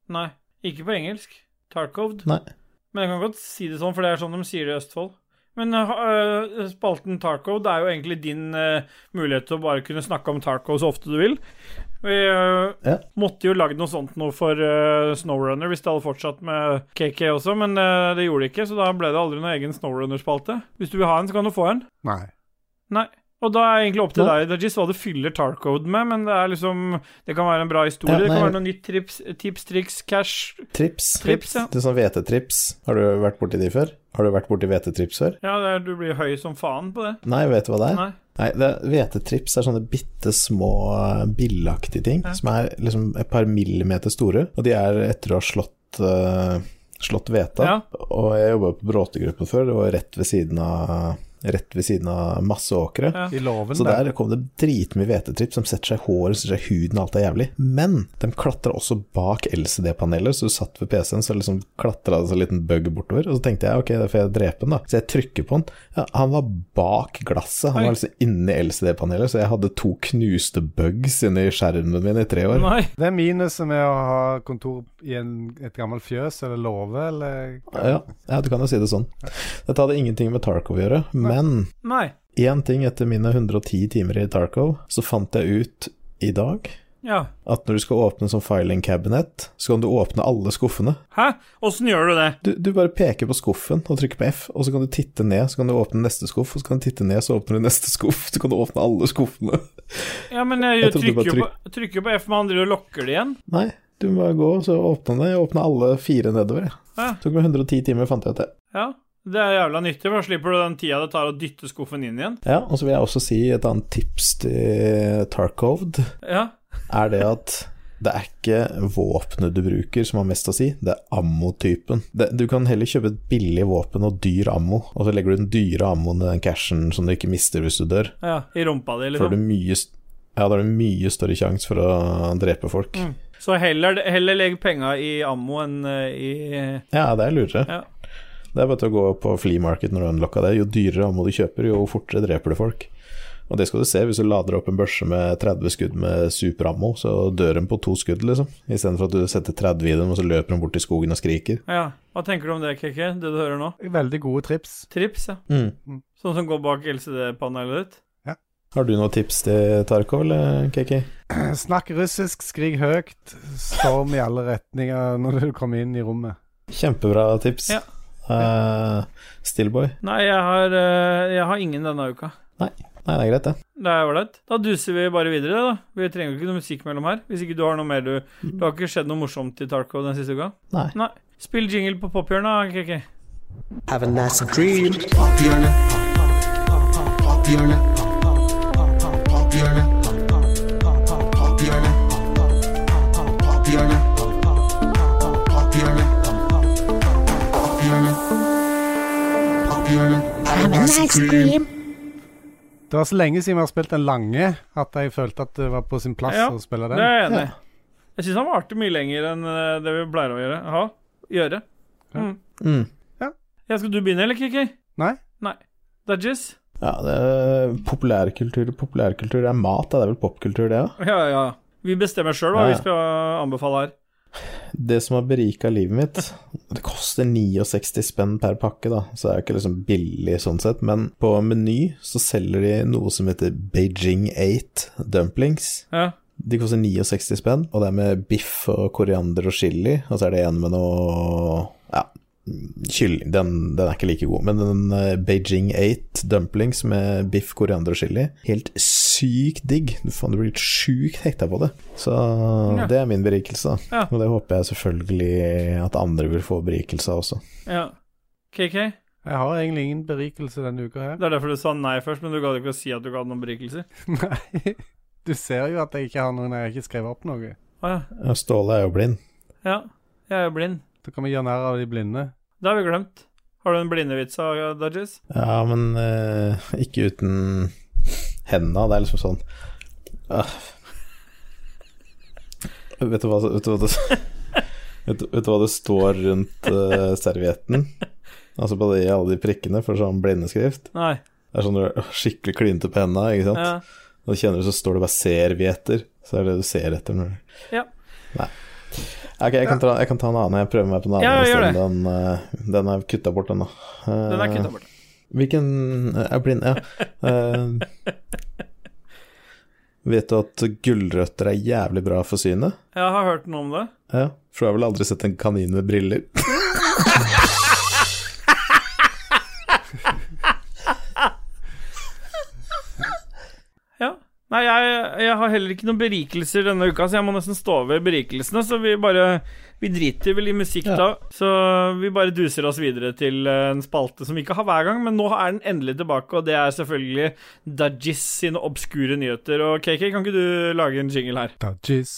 Nei, ikke på engelsk. Tarkovd.
Nei.
Men jeg kan godt si det sånn, for det er sånn de sier det i Østfold. Men øh, spalten Tarkov, det er jo egentlig din øh, mulighet til å bare kunne snakke om Tarkov så ofte du vil. Vi øh,
Ja.
måtte jo lagd noe sånt noe for øh, Snowrunner hvis det hadde fortsatt med KK også, men øh, det gjorde det ikke, så da ble det aldri noen egen Snowrunner-spalte. Hvis du vil ha en, så kan du få en.
Nei.
Nei. Og da er det egentlig opp til
Nei.
deg, Dajis, hva du fyller Tarkov med, men det er liksom Det kan være en bra historie,
Ja,
det kan
nei.
være noe nytt trips, tips, triks, cash
Trips.
Trips, ja.
Det er sånn hvetetrips. Har du vært borti de før? Har du vært borti hvetetrips før?
Ja, det er, du blir høy som faen på det.
Nei, vet du hva det er?
Nei.
Nei, det er- Hvetetrips er sånne bitte små eh, billeaktige ting som er liksom et par millimeter store. Og de er etter å ha slått eh, Slått hveta.
Ja.
Og jeg jobba på bråtegruppen før, det var rett ved siden av, rett ved siden av masse åkre.
Ja.
I låven
Så der kom det dritmye hvetetrips som setter seg i håret, setter seg i huden, alt er jævlig. Men de klatra også bak LCD-paneler, så du satt ved PC-en, så liksom klatra det seg en liten bug bortover. Og så tenkte jeg ok, da får jeg drepe den, da. Så jeg trykker på den. Ja, han var bak glasset, han
Oi.
var liksom inni LCD-panelet, så jeg hadde to knuste bugs inni skjermen min i tre år.
Nei.
Det er minuset med å ha kontor i en, et gammelt fjøs eller låve eller
Ja, ja, du kan jo si det sånn. Dette hadde ingenting med Tarkov å gjøre, men
Nei.
én ting etter mine 110 timer i Tarkov, så fant jeg ut i dag
Ja.
at når du skal åpne sånn filing cabinet, så kan du åpne alle skuffene.
Hæ? Åssen gjør du det?
Du, du bare peker på skuffen og trykker på F, og så kan du titte ned, så kan du åpne neste skuff, og så kan du titte ned, så åpner du neste skuff, så kan du åpne alle skuffene.
Ja, men jeg,
Jeg trodde du
trykker,
bare
jo på, trykker jo på F, men han driver og lokker det igjen.
Nei, du må bare gå, så åpne den. Jeg åpna alle fire nedover, jeg.
Ja.
Tok meg 110 timer, fant jeg ut det.
Ja. Det er jævla nyttig, for da slipper du den tida det tar å dytte skuffen inn igjen.
Ja, og så vil jeg også si et annet tips til Tarkovd,
Ja.
er det at det er ikke våpenet du bruker som har mest å si, det er ammotypen. Det- Du kan heller kjøpe et billig våpen og dyr ammo, og så legger du den dyre ammoen i den cashen som du ikke mister hvis du dør.
ja. I rumpa di,
For du
liksom.
mye, st- ja, da har du mye større sjanse for å drepe folk.
Så heller, heller legg penga i ammo enn eh, i
Ja, det er lurere.
Ja.
Det er bare til å gå på flea market når du har unlocka det. Jo dyrere ammo du kjøper, jo fortere dreper du folk. Og det skal du se, hvis du lader opp en børse med 30 skudd med superammo, så dør de på to skudd, liksom. Istedenfor at du setter 30 i dem, og så løper de bort i skogen og skriker.
Ja. Hva tenker du om det, KK? Det du hører nå?
Veldig gode trips.
Trips, ja.
Mm.
Sånn som går bak LCD-panelet ditt?
Har du noen tips til Tarkov, eller KK?
Snakk russisk, skrik høyt, storm i alle retninger når du kommer inn i rommet.
Kjempebra tips.
Ja.
Eh, Stillboy.
Nei, jeg har, eh, jeg har ingen denne uka.
Nei, det er greit, det.
Det er ålreit. Da duser vi bare videre, da. Vi trenger jo ikke noe musikk mellom her. Hvis ikke du har noe mer du Det har ikke skjedd noe morsomt i Tarkov den siste uka?
Nei.
Spill jingle på pophjørnet, da, KK.
Have a nice dream. Pophjørnet. Pophjørnet. Pophjørnet. Pophjørnet. Pophjørnet. Pophjørnet. Pophjørnet. Pophjørnet. Have a nice dream.
Det var så lenge siden vi har spilt den lange at jeg følte at det var på sin plass
Ja,
å spille
Det
den.
er jeg enig i. Jeg syns han varte mye lenger enn eh, det vi pleier å gjøre. Ha, gjøre. Mm.
Mm.
Ja, skal du begynne, eller, KK?
Nei.
Nei. Dudges?
Ja, det er populærkultur Populærkultur er mat, da. det er vel popkultur, det òg?
Ja, ja. Vi bestemmer sjøl hva
Ja, ja.
vi skal anbefale her.
Det som har berika livet mitt Det koster 69 spenn per pakke, da, så det er jo ikke liksom billig sånn sett, men på Meny så selger de noe som heter Beijing 8 dumplings.
Ja.
De koster 69 spenn, og det er med biff og koriander og chili, og så er det en med noe Ja, kylling den, den er ikke like god, men den eh, Beijing 8 dumplings med biff, koriander og chili, helt sykt digg. Du faen, du blir helt sjukt hekta på det. Så
Ja.
det er min berikelse, da.
Ja.
Og det håper jeg selvfølgelig at andre vil få berikelse av også.
ja. KK?
Jeg har egentlig ingen berikelse denne uka her.
Det er derfor du sa nei først, men du gadd ikke å si at du ikke hadde noen berikelser.
Nei. Du ser jo at jeg ikke har noen jeg har ikke skrevet opp noe.
Å ja.
Ja, Ståle er jo blind.
Ja. Jeg er jo blind.
Da kan vi gjøre narr av de blinde.
Det har vi glemt. Har du en blindevits av Dodges?
Ja, men eh, ikke uten henda. Det er liksom sånn Ah. Vet du hva, vet du hva, det, vet, du- vet du hva det står rundt eh, servietten? Altså på de, alle de prikkene for sånn blindeskrift.
Nei.
Det er sånn du er skikkelig klinte på henda, ikke sant.
Ja.
Og kjenner du så står det bare 'servietter', så er det det du ser etter når du
Ja.
Nei. Ok, jeg kan, ta, jeg kan ta en annen. Jeg prøver meg på en annen.
Ja,
i
gjør
stedet. Den, eh, den er kutta bort, den, da. Eh,
Den er kutta bort.
Hvilken er blind Ja. Eh, vet du at gulrøtter er jævlig bra for synet?
Jeg har hørt noe om det.
Ja, for du har vel aldri sett en kanin med briller?
Ja. Nei, jeg, jeg har heller ikke noen berikelser denne uka, så jeg må nesten stå over berikelsene. Så vi bare Vi driter vel i musikk da, så vi bare duser oss videre til eh, en spalte som vi ikke har hver gang, men nå er den endelig tilbake, og det er selvfølgelig Dudgies sine obskure nyheter. Og KK, kan ikke du lage en jingle her?
Dodges,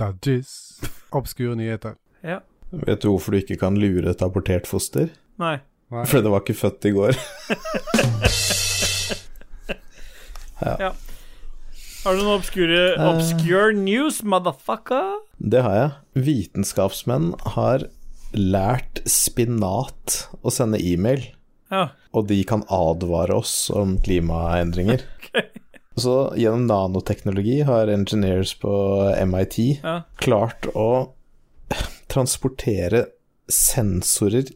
dodges. Obskure nyheter.
Ja.
Vet du hvorfor du ikke kan lure et abortert foster?
Nei.
Fordi det var ikke født i går.
Har du noen obskure Obscure news, motherfucker?
Det har jeg. Vitenskapsmenn har lært spinat å sende e-mail.
Ja.
og de kan advare oss om klimaendringer. Så gjennom nanoteknologi har engineers på MIT
Ja.
klart å transportere sensorer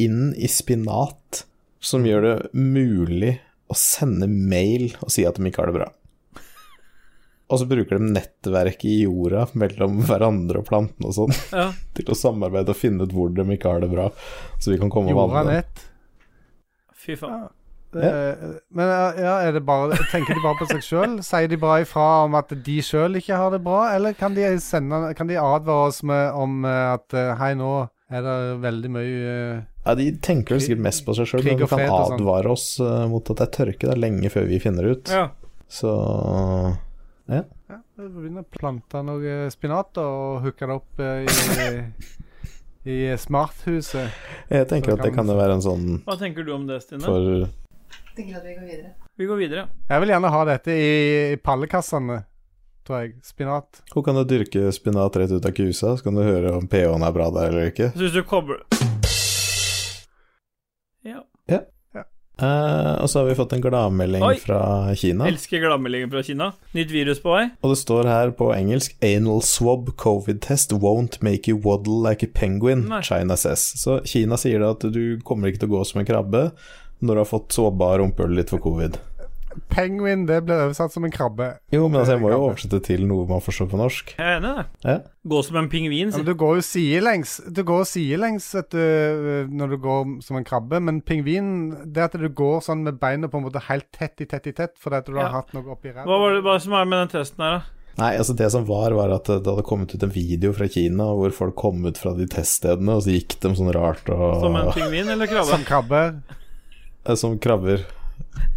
inn i spinat, som gjør det mulig å sende mail og si at de ikke har det bra. Og så bruker de nettverket i jorda mellom hverandre og plantene og sånn
ja.
til å samarbeide og finne ut hvor de ikke har det bra, så vi kan komme og
Jorda
vanne dem.
nett.
Fy faen.
Det, Men ja, er det bare, tenker de bare på seg sjøl? Sier de bare ifra om at de sjøl ikke har det bra, eller kan de, sende, kan de advare oss med, om eh, at eh, hei, nå er det veldig mye eh,
Ja, De tenker vel sikkert mest på seg sjøl,
Krig
men de
og
kan
fred og sånn.
advare oss eh, mot at det er tørke da, lenge før vi finner det ut.
Ja.
Så
ja, Vi begynner å plante noe spinat og hooke det opp eh, i, i smarthuset.
jeg tenker
Så
at det
kan-
kan jo være en sånn
Hva tenker du om det, Stine?
for
Tenker at vi går videre.
Vi går videre.
Jeg vil gjerne ha dette i, i pallekassene, tror jeg. Spinat.
Hun kan jo dyrke spinat rett ut av kusa, så kan du høre om pH-en er bra der eller ikke.
Så hvis du kobler Ja.
Eh, og så har vi fått en gladmelding
Oi.
fra Kina,
Elsker gladmeldingen fra Kina. Nytt virus på vei.
og det står her på engelsk 'Anal swab covid test won't make you waddle like a penguin',
Nei.
China says. Så Kina sier da at du kommer ikke til å gå som en krabbe når du har fått swabba rumpehullet ditt for covid.
Penguin, det blir oversatt som en krabbe.
Jo, men altså, jeg må jo oversette til noe man forstår på norsk.
Jeg er enig i det.
Ja.
Gå som en pingvin.
Ja,
sier-
men du går jo sidelengs Du går jo sidelengs vet du, øh, når du går som en krabbe, men pingvinen Det at du går sånn med beina på en måte helt tett i tett i tett fordi at du
Ja.
har hatt noe oppi
Hva var
ræva.
det hva som er med den testen her, da?
Nei, altså det som var, var at det hadde kommet ut en video fra Kina hvor folk kom ut fra de teststedene, og så gikk de sånn rart og
Som en pingvin eller krabbe?
Som krabbe.
eh, som krabber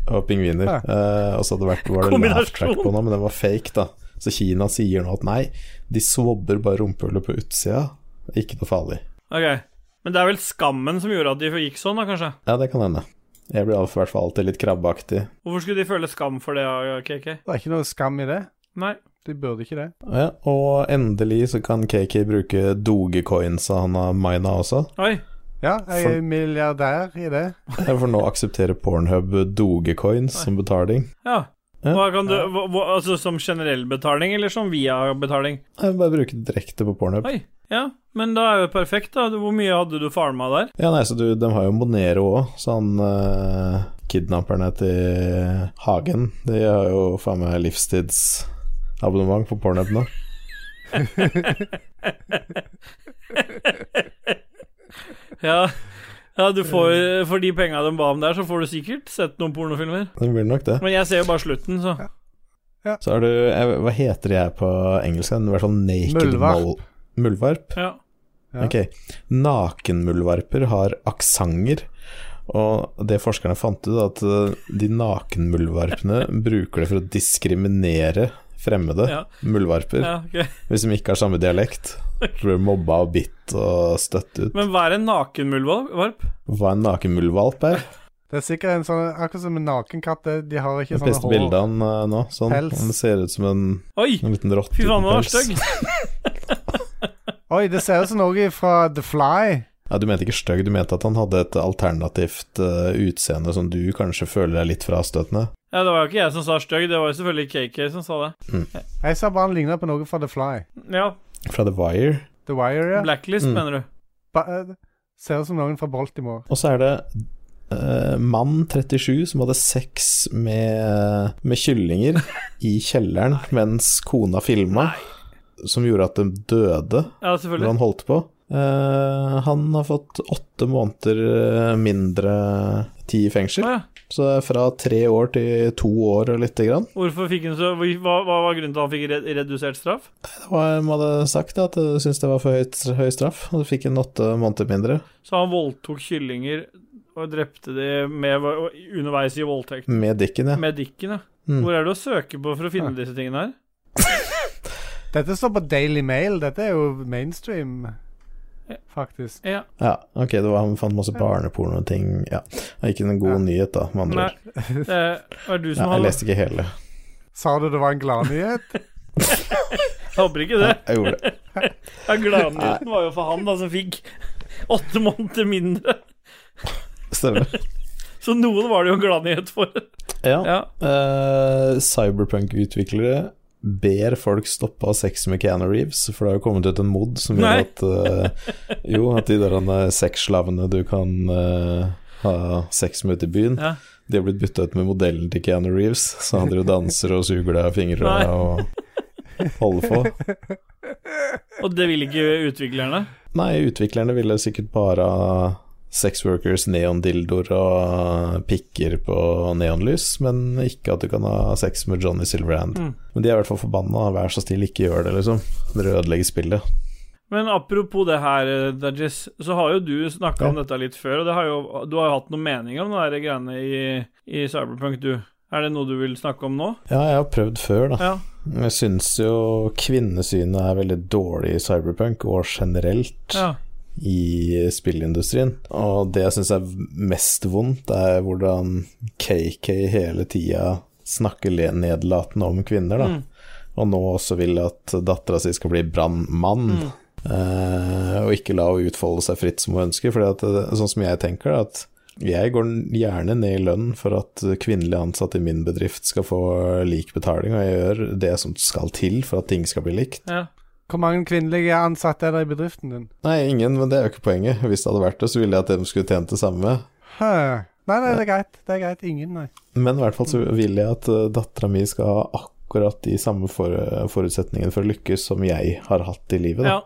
og pingviner.
Ja.
Eh, og så hadde det vært var det laugh track
Kombinasjon.
på nå, men den var fake, da. Så Kina sier nå at nei, de swabber bare rumpehullet på utsida. Ikke noe farlig.
Ok. Men det er vel skammen som gjorde at de gikk sånn, da, kanskje?
Ja, det kan hende. Jeg blir i hvert fall alltid litt krabbeaktig.
Hvorfor skulle de føle skam for det, ja, KK?
Det er ikke noe skam i det.
Nei.
De burde ikke det.
Ja, og endelig så kan KK bruke dogecoinsa han har mina også.
Oi.
Ja, jeg er milliardær i det.
Ja, For nå aksepterer Pornhub dogecoins som betaling.
Ja.
Ja.
Hva kan du, hva, hva, altså Som generell betaling, eller som via betaling?
Jeg vil bare bruke det direkte på Pornhub.
Oi. Ja, men da er jo perfekt, da. Hvor mye hadde du farma der?
Ja, nei, så du, De har jo Monero òg, så han eh, kidnapperne til Hagen De har jo faen meg livstidsabonnement på Pornhub nå.
Ja, ja du får, for de penga de ba om der, så får du sikkert sett noen pornofilmer.
Det blir nok det.
Men jeg ser jo bare slutten, så.
Så har du jeg, Hva heter de her på engelsk? I hvert fall naked
Muldvarp.
mole- Muldvarp?
Ja.
Ja.
Ok. Nakenmuldvarper har aksenter. Og det forskerne fant ut, at eh, de nakenmuldvarpene bruker det for å diskriminere fremmede
Ja.
muldvarper.
Ja, ok.
Hvis de ikke har samme dialekt. Blir mobba og bitt og støtt ut.
Men hva er en nakenmuldvarp?
Hva en nakenmuldvalp er.
Det er sikkert en sånn Akkurat som en nakenkatt, det- de har ikke
Jeg
sånne
peste
sånn hår.
bildene eh, nå. Sånn.
Pels.
Den ser ut som en,
Oi!
en liten rotte.
Fy
uten
faen, den var
pels.
stygg.
Oi, det ser ut som noe fra The Fly.
Ja, du mente ikke stygg, du mente at han hadde et alternativt eh, utseende som du kanskje føler er litt frastøtende.
Ja, det var jo ikke jeg som sa stygg, det var jo selvfølgelig KK som sa det.
Jeg sa bare han ligna på noe fra The Fly.
Ja,
Fra The Wire.
The Wire, ja.
Blacklist,
Mm.
mener du.
Ba eh, ser ut som noen fra Baltimore.
Og så er det eh, mann 37 som hadde sex med, med kyllinger i kjelleren mens kona filma, som gjorde at de døde
Ja,
når
selvfølgelig.
han holdt på. Eh, han har fått åtte måneder eh, mindre tid i fengsel,
Å, ja.
så det er fra tre år til to år og lite grann.
Hvorfor fikk han så Hva, hva var grunnen til at han fikk re- redusert straff?
Det var, de hadde sagt at de syntes det var for høyt, høy straff, og du fikk en åtte måneder mindre.
Så han voldtok kyllinger og drepte de med, og- underveis i voldtekt.
Med dikken, ja.
Med dikken, ja.
Mm.
Hvor er det å søke på for å finne disse tingene her?
Dette står på Daily Mail. Dette er jo mainstream, faktisk.
Ja.
Ja, ok, det var, han fant masse barneporno og ting. Ja, det var ikke en god
Ja.
nyhet, da, med andre
Nei,
ord.
det er du
Ja,
som
jeg
hadde
leste ikke hele.
Sa du det var en gladnyhet?
Jeg håper ikke det.
Jeg gjorde det.
Ja, Gladnyheten var jo for han, da, som fikk åtte måneder mindre.
Stemmer.
Så noen var det jo en gladnyhet for.
Ja.
Ja.
eh, Cyberpunk-utviklere ber folk stoppe å ha sex med Keanu Reeves, for det har jo kommet ut en mod som gjør
Nei.
at eh, Jo, at de der eh, sexslavene du kan eh, ha sex med ute i byen,
Ja.
de har blitt bytta ut med modellen til Keanu Reeves, så han driver og danser og suger deg av fingra
Nei.
og holder på.
Og det ville ikke utviklerne.
Nei, utviklerne ville sikkert bare ha sexworkers, neondildoer og pikker på neonlys, men ikke at du kan ha sex med Johnny Silverhand.
Mm.
Men de er i hvert fall forbanna. Vær så snill, ikke gjør det, liksom. Dere ødelegger spillet.
Men apropos det her, eh, Dajis, så har jo du snakka om
Ja.
dette litt før, og det har jo, du har jo hatt noen mening om de der greiene i, i Cyberpunk, du. Er det noe du vil snakke om nå?
Ja, jeg har prøvd før, da.
Ja.
Jeg syns jo kvinnesynet er veldig dårlig i cyberpunk, og generelt
ja.
i spillindustrien. Og det jeg syns er mest vondt, er hvordan KK hele tida snakker le- nedlatende om kvinner, da.
Mm.
Og nå også vil at dattera si skal bli brannmann. Eh, og ikke la henne utfolde seg fritt som hun ønsker. Fordi at, eh, sånn som jeg tenker, da, at jeg går n- gjerne ned i lønn for at kvinnelige ansatte i min bedrift skal få lik betaling, og jeg gjør det som skal til for at ting skal bli likt.
ja.
Hvor mange kvinnelige ansatte er det i bedriften din?
Nei, ingen, men det er jo ikke poenget. Hvis det hadde vært det, så ville jeg at de skulle tjent det samme.
Hæ. Nei, nei, det er greit. Det er greit. Ingen, nei.
Men i hvert fall så vil jeg at uh, dattera mi skal ha akkurat de samme for, forutsetningene for å lykkes som jeg har hatt i livet. Da.
ja.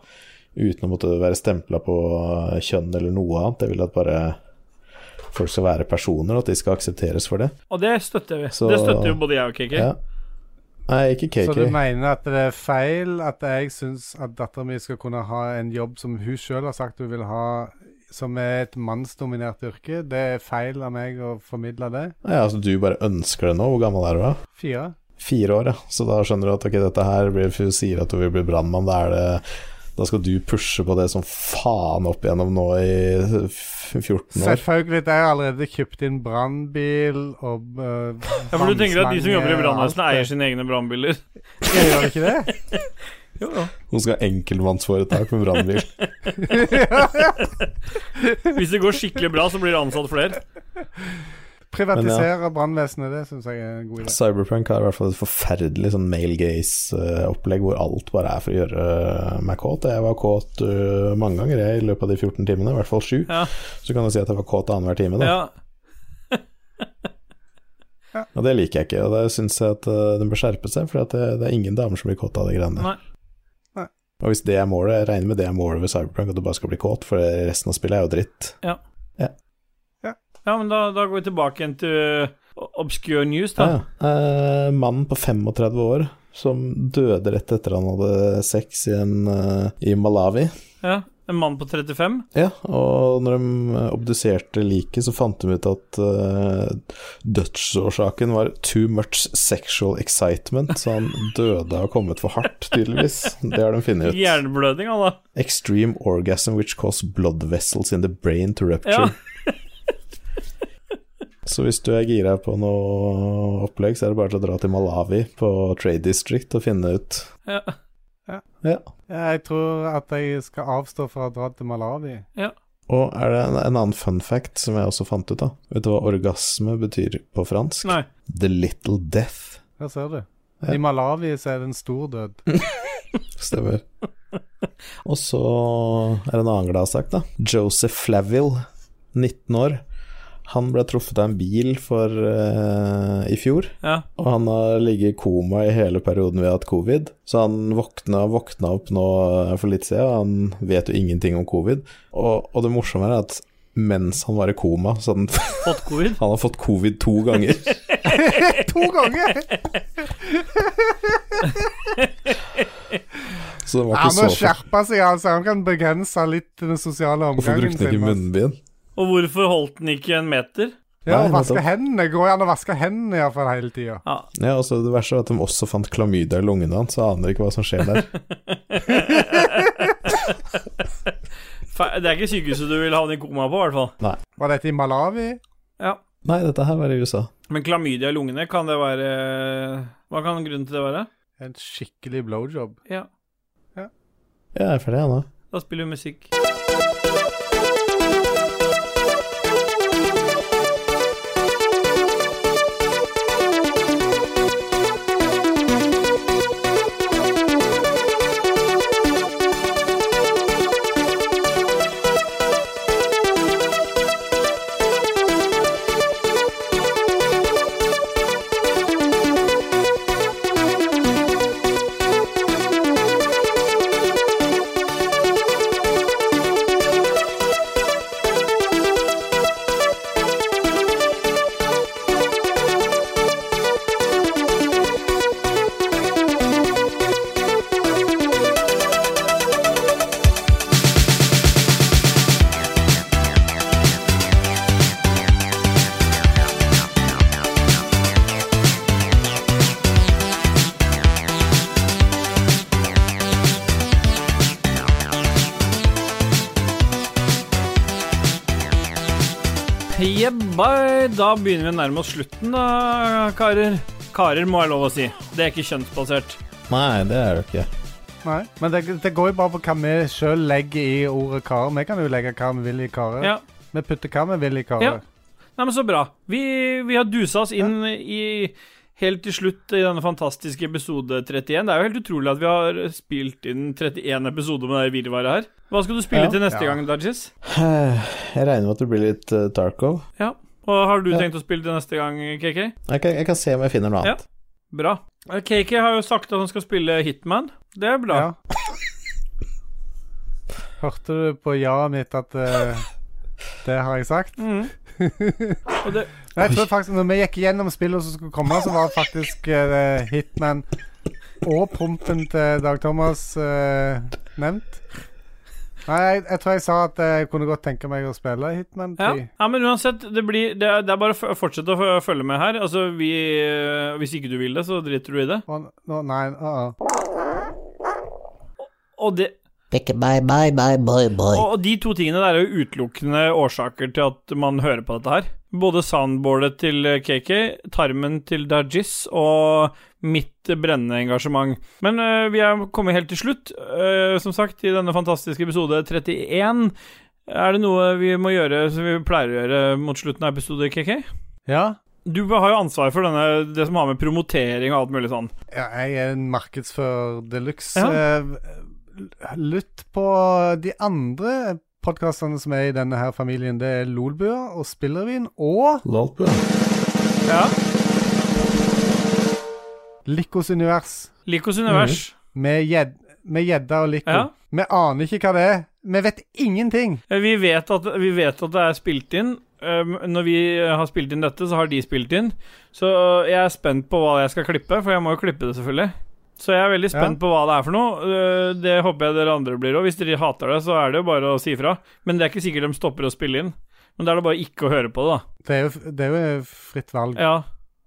Uten å måtte være stempla på uh, kjønn eller noe annet. Jeg vil at bare folk skal være personer, og at de skal aksepteres for det.
Og det støtter vi.
Så-
Det støtter jo både jeg og KK.
Ja. Nei, ikke
Så du
KK.
mener at det er feil at jeg syns at dattera mi skal kunne ha en jobb som hun sjøl har sagt hun vil ha, som er et mannsdominert yrke? Det er feil av meg å formidle det.
Ja, altså, du bare ønsker det nå. Hvor gammel er du, da?
Fire.
Fire år, ja. Så da skjønner du at ok, dette her blir, Hun sier at hun vil bli brannmann. Da er det da skal du pushe på det som faen opp igjennom nå i f- 14 år.
Selvfølgelig. Jeg har allerede kjøpt inn brannbil og uh,
Ja, for du tenker at de som jobber i
vannslange og eh, alt
brannvesenet, eier
det.
sine egne brannbiler?
Jeg Gjør ikke det?
Jo, jo.
Hun skal ha enkeltmannsforetak med brannbil.
Hvis det går skikkelig bra, så blir det ansatt flere.
Privatisere brannvesenet, det syns jeg er en god idé.
Cyberprank har i hvert fall et forferdelig sånn male gaze-opplegg hvor alt bare er for å gjøre meg kåt. Jeg var kåt øh, mange ganger jeg, i løpet av de 14 timene, i hvert fall sju.
Ja.
Så kan du si at jeg var kåt annenhver time, da.
Ja.
Og det liker jeg ikke, og det syns jeg at øh, den bør skjerpe seg, for det, det er ingen damer som blir kåt av de greiene.
Nei.
Nei.
Og hvis det er målet, jeg regner med det er målet ved Cyberprank, at du bare skal bli kåt, for resten av spillet er jo dritt.
ja, men da, da går vi tilbake igjen til uh, obscure news,
Ja,
da.
ja. Eh, mannen på 35 år som døde rett etter han hadde sex i, en, eh, i Malawi.
Ja. En mann på 35.
Ja, og når de obduserte liket, så fant de ut at eh, dødsårsaken var too much sexual excitement, så han døde av å ha kommet for hardt, tydeligvis. Det har de funnet ut.
Hjerneblødning, han da.
Extreme orgasm which cause blood vessels in the brain to
Ja.
rupture. Så hvis du er gira på noe opplegg, så er det bare til å dra til Malawi på Trade District og finne ut.
Ja.
Jeg tror at jeg skal avstå fra å dra til Malawi.
Og er det en, en annen fun fact som jeg også fant ut av? Vet du hva orgasme betyr på fransk?
Nei.
The Little Death.
Her ser du.
Ja.
I Malawi så er det en stor død.
Stemmer. Og så er det en annen gladsak, da. Joseph Flaville, 19 år. Han ble truffet av en bil for, eh, i fjor,
Ja.
og han har ligget i koma i hele perioden vi har hatt covid. Så han våkna, våkna opp nå eh, for litt siden, og han vet jo ingenting om covid. Og, og det morsomme er at mens han var i koma, så hadde han,
Fått covid.
han har fått covid to ganger.
to ganger!
Så det var
Han må
ikke så
skjerpe seg, altså. Han kan begrense litt den sosiale
Hvorfor
omgangen
brukte han ikke
altså.
munnbind?
Og hvorfor holdt den ikke en meter?
Ja, og
Nei,
vaske
nettopp.
hendene. Går jo an å vaske hendene i hvert fall hele tida.
Ja.
Ja, og så Det verste var at de også fant klamydia i lungene hans, så jeg aner ikke hva som skjer der.
Fe- Det er ikke sykehuset du vil havne i koma på, i hvert fall.
Var dette i Malawi?
Ja.
Nei, dette her var i USA.
Men klamydia i lungene, kan det være Hva kan grunnen til det være?
En skikkelig blowjob.
Ja.
Ja, jeg er ferdig, jeg nå.
Da spiller vi musikk. Jebbai, da begynner vi å nærme oss slutten, da, karer. Karer må jeg lov å si. Det er ikke kjønnsbasert.
Nei, det er det ikke.
Nei. Men det, det går jo bare på hva vi sjøl legger i ordet kar. Vi kan jo legge hva vi vil i karet.
Ja.
Vi putter hva vi vil i
Ja.
karet.
Nei, men så bra. Vi, vi har dusa oss inn i Helt til slutt i denne fantastiske episode 31. Det er jo helt utrolig at vi har spilt inn 31 episoder med det virvaret her. Hva skal du spille
Ja.
til neste
Ja.
gang, Dajis?
Jeg regner med at det blir litt eh, Tarkov.
Og har du
Ja.
tenkt å spille til neste gang, KK?
Jeg kan, jeg kan se om jeg finner noe
Ja.
annet.
Bra. Eh, KK har jo sagt at han skal spille Hitman. Det er bra.
Hørte du på ja-et mitt at eh, det har jeg sagt?
Mhm. Og det,
Nei, jeg tror faktisk Når vi gikk gjennom spillene som skulle komme, så var faktisk eh, Hitman og prompen til Dag Thomas eh, nevnt. Nei, jeg, jeg tror jeg sa at jeg kunne godt tenke meg å spille Hitman 3.
Ja. ja, men uansett, det, blir, det, er, det er bare å f- fortsette å f- følge med her. Altså, vi, eh, hvis ikke du vil det, så driter du i det.
Og, nå, nei, uh -uh.
Og, det,
Pick a bye bye bye boy boy.
og, og de to tingene der er jo utelukkende årsaker til at man hører på dette her. Både soundboardet til eh, KK, tarmen til Dajis og mitt eh, brennende engasjement. Men eh, vi er kommet helt til slutt, eh, som sagt, i denne fantastiske episode 31. Er det noe vi må gjøre som vi pleier å gjøre mot slutten av episode, KK?
ja.
Du har jo ansvar for denne, det som har med promotering og alt mulig sånn.
ja. Jeg er en markedsfører de luxe.
Ja.
Eh, Lytt på de andre podkastene som er i denne her familien. Det er Lolbua og Spillervin og
Lolp, ja.
Ja.
Likos univers.
Likos univers.
Med gjed- med gjedda og Lico.
Ja.
Vi aner ikke hva det er. Vi vet ingenting.
Eh, Vi, vet at, vi vet at det er spilt inn. Um, når vi har spilt eh, inn dette, så har de spilt inn. Så jeg er spent på hva jeg skal klippe, for jeg må jo klippe det, selvfølgelig. Så jeg er veldig spent på hva det er for noe. Eh, Det håper jeg dere andre blir òg. Hvis dere hater det, så er det jo bare å si ifra. Men det er ikke sikkert de stopper å spille inn. Men da er det bare ikke å høre på det, da.
Det er jo, det er jo fritt valg.
Ja.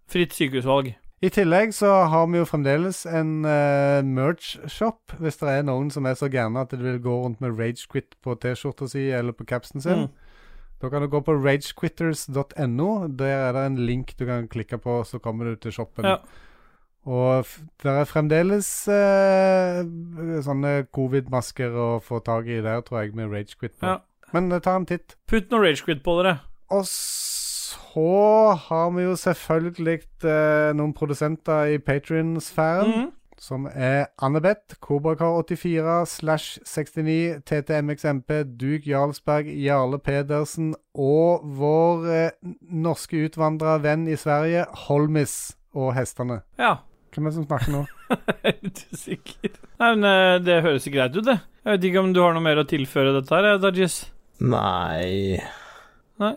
Fritt sykehusvalg.
I tillegg så har vi jo fremdeles en uh, merch-shop, hvis det er noen som er så gærne at de vil gå rundt med Ragequit på T-skjorta si eller på capsen sin.
Mm.
Da kan du gå på ragequitters.no. Der er det en link du kan klikke på, så kommer du til shoppen.
Ja.
Og f det er fremdeles eh, sånne covid-masker å få tak i der, tror jeg, med Ragequit på.
Ja.
Men eh, ta en titt.
Putt noe ragequid på dere.
Og så har vi jo selvfølgelig eh, noen produsenter i
Mm.
Patrion-sfæren.
Mhm.
Som er Annebeth, Kobrakar84, Slash 69, TTMXMP, Duk Jarlsberg, Jarle Pedersen og vår eh, norske utvandra venn i Sverige, Holmis, og hestene.
Ja.
Hvem er det som snakker nå?
Jeg er litt usikker. Nei, men eh, det høres ikke greit ut, det. Jeg vet ikke om du har noe mer å tilføre dette her, eh, Dajis?
Nei
Nei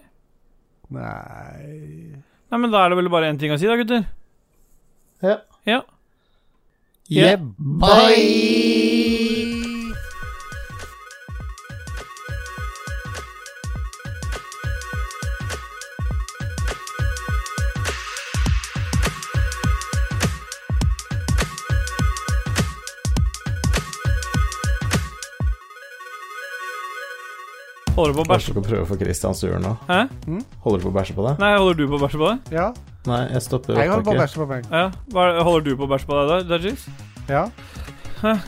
Nei, men da er det vel bare én ting å si, da, gutter.
Ja.
Ja.
Yeah,
Holder du på å
Kanskje
bæsje?
du kan prøve å få Christian sur nå?
Hæ?
Holder du på å bæsje på deg?
Nei, holder du på å bæsje på deg?
Ja,
Nei, jeg stopper
jeg holder på å
opptaket.
bæsje på meg.
Ja. Hva- Holder du på å bæsje på deg, da, Dajis?
Ja.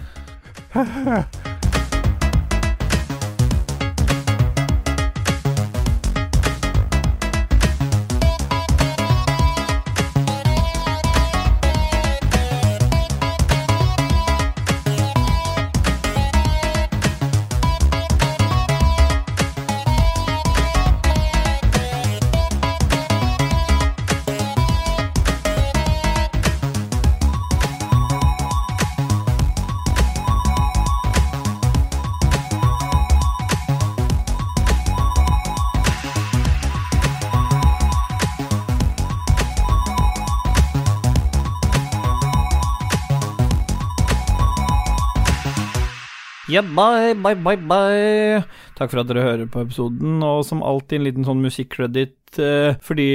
Yeah, bye, bye, bye, bye. Takk for at dere hører på episoden, og som alltid en liten sånn musikkkreditt, eh, fordi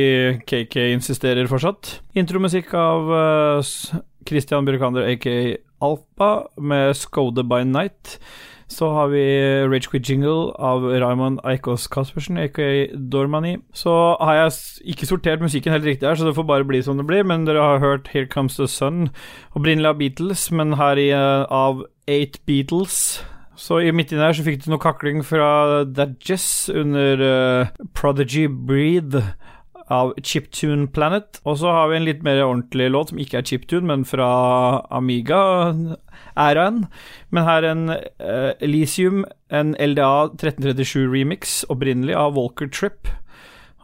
KK insisterer fortsatt. Intromusikk av eh, S- Christian Bjørkander, aka Alpa, med Skode by Night. Så har vi Rage Quit Jingle av Raymond Eikås Caspersen, aka Dormani. Så har jeg s- ikke sortert musikken helt riktig her, så det får bare bli som det blir, men dere har hørt Here Comes the Sun, opprinnelig av Beatles, men her i, eh, av Eight Beatles. Så i midt inni her så fikk du noe kakling fra Dadges under eh, Prodigy Breed av Chiptune Planet. Og så har vi en litt mer ordentlig låt som ikke er chiptune, men fra Amiga-æraen. Men her en eh, Elysium, en LDA 1337-remix, opprinnelig av Walker Trip.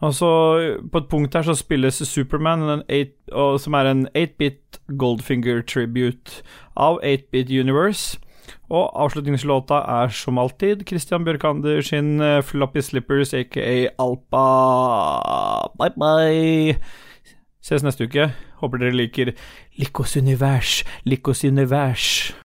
Og så På et punkt her så spilles Superman, en 8, og, som er en 8-bit Goldfinger-tribute av 8-bit Universe. Og avslutningslåta er som alltid Christian Bjørkander sin eh, Floppy Slippers, aka Alpa. Bye, bye. Ses neste uke. Håper dere liker Likos univers, Likos univers.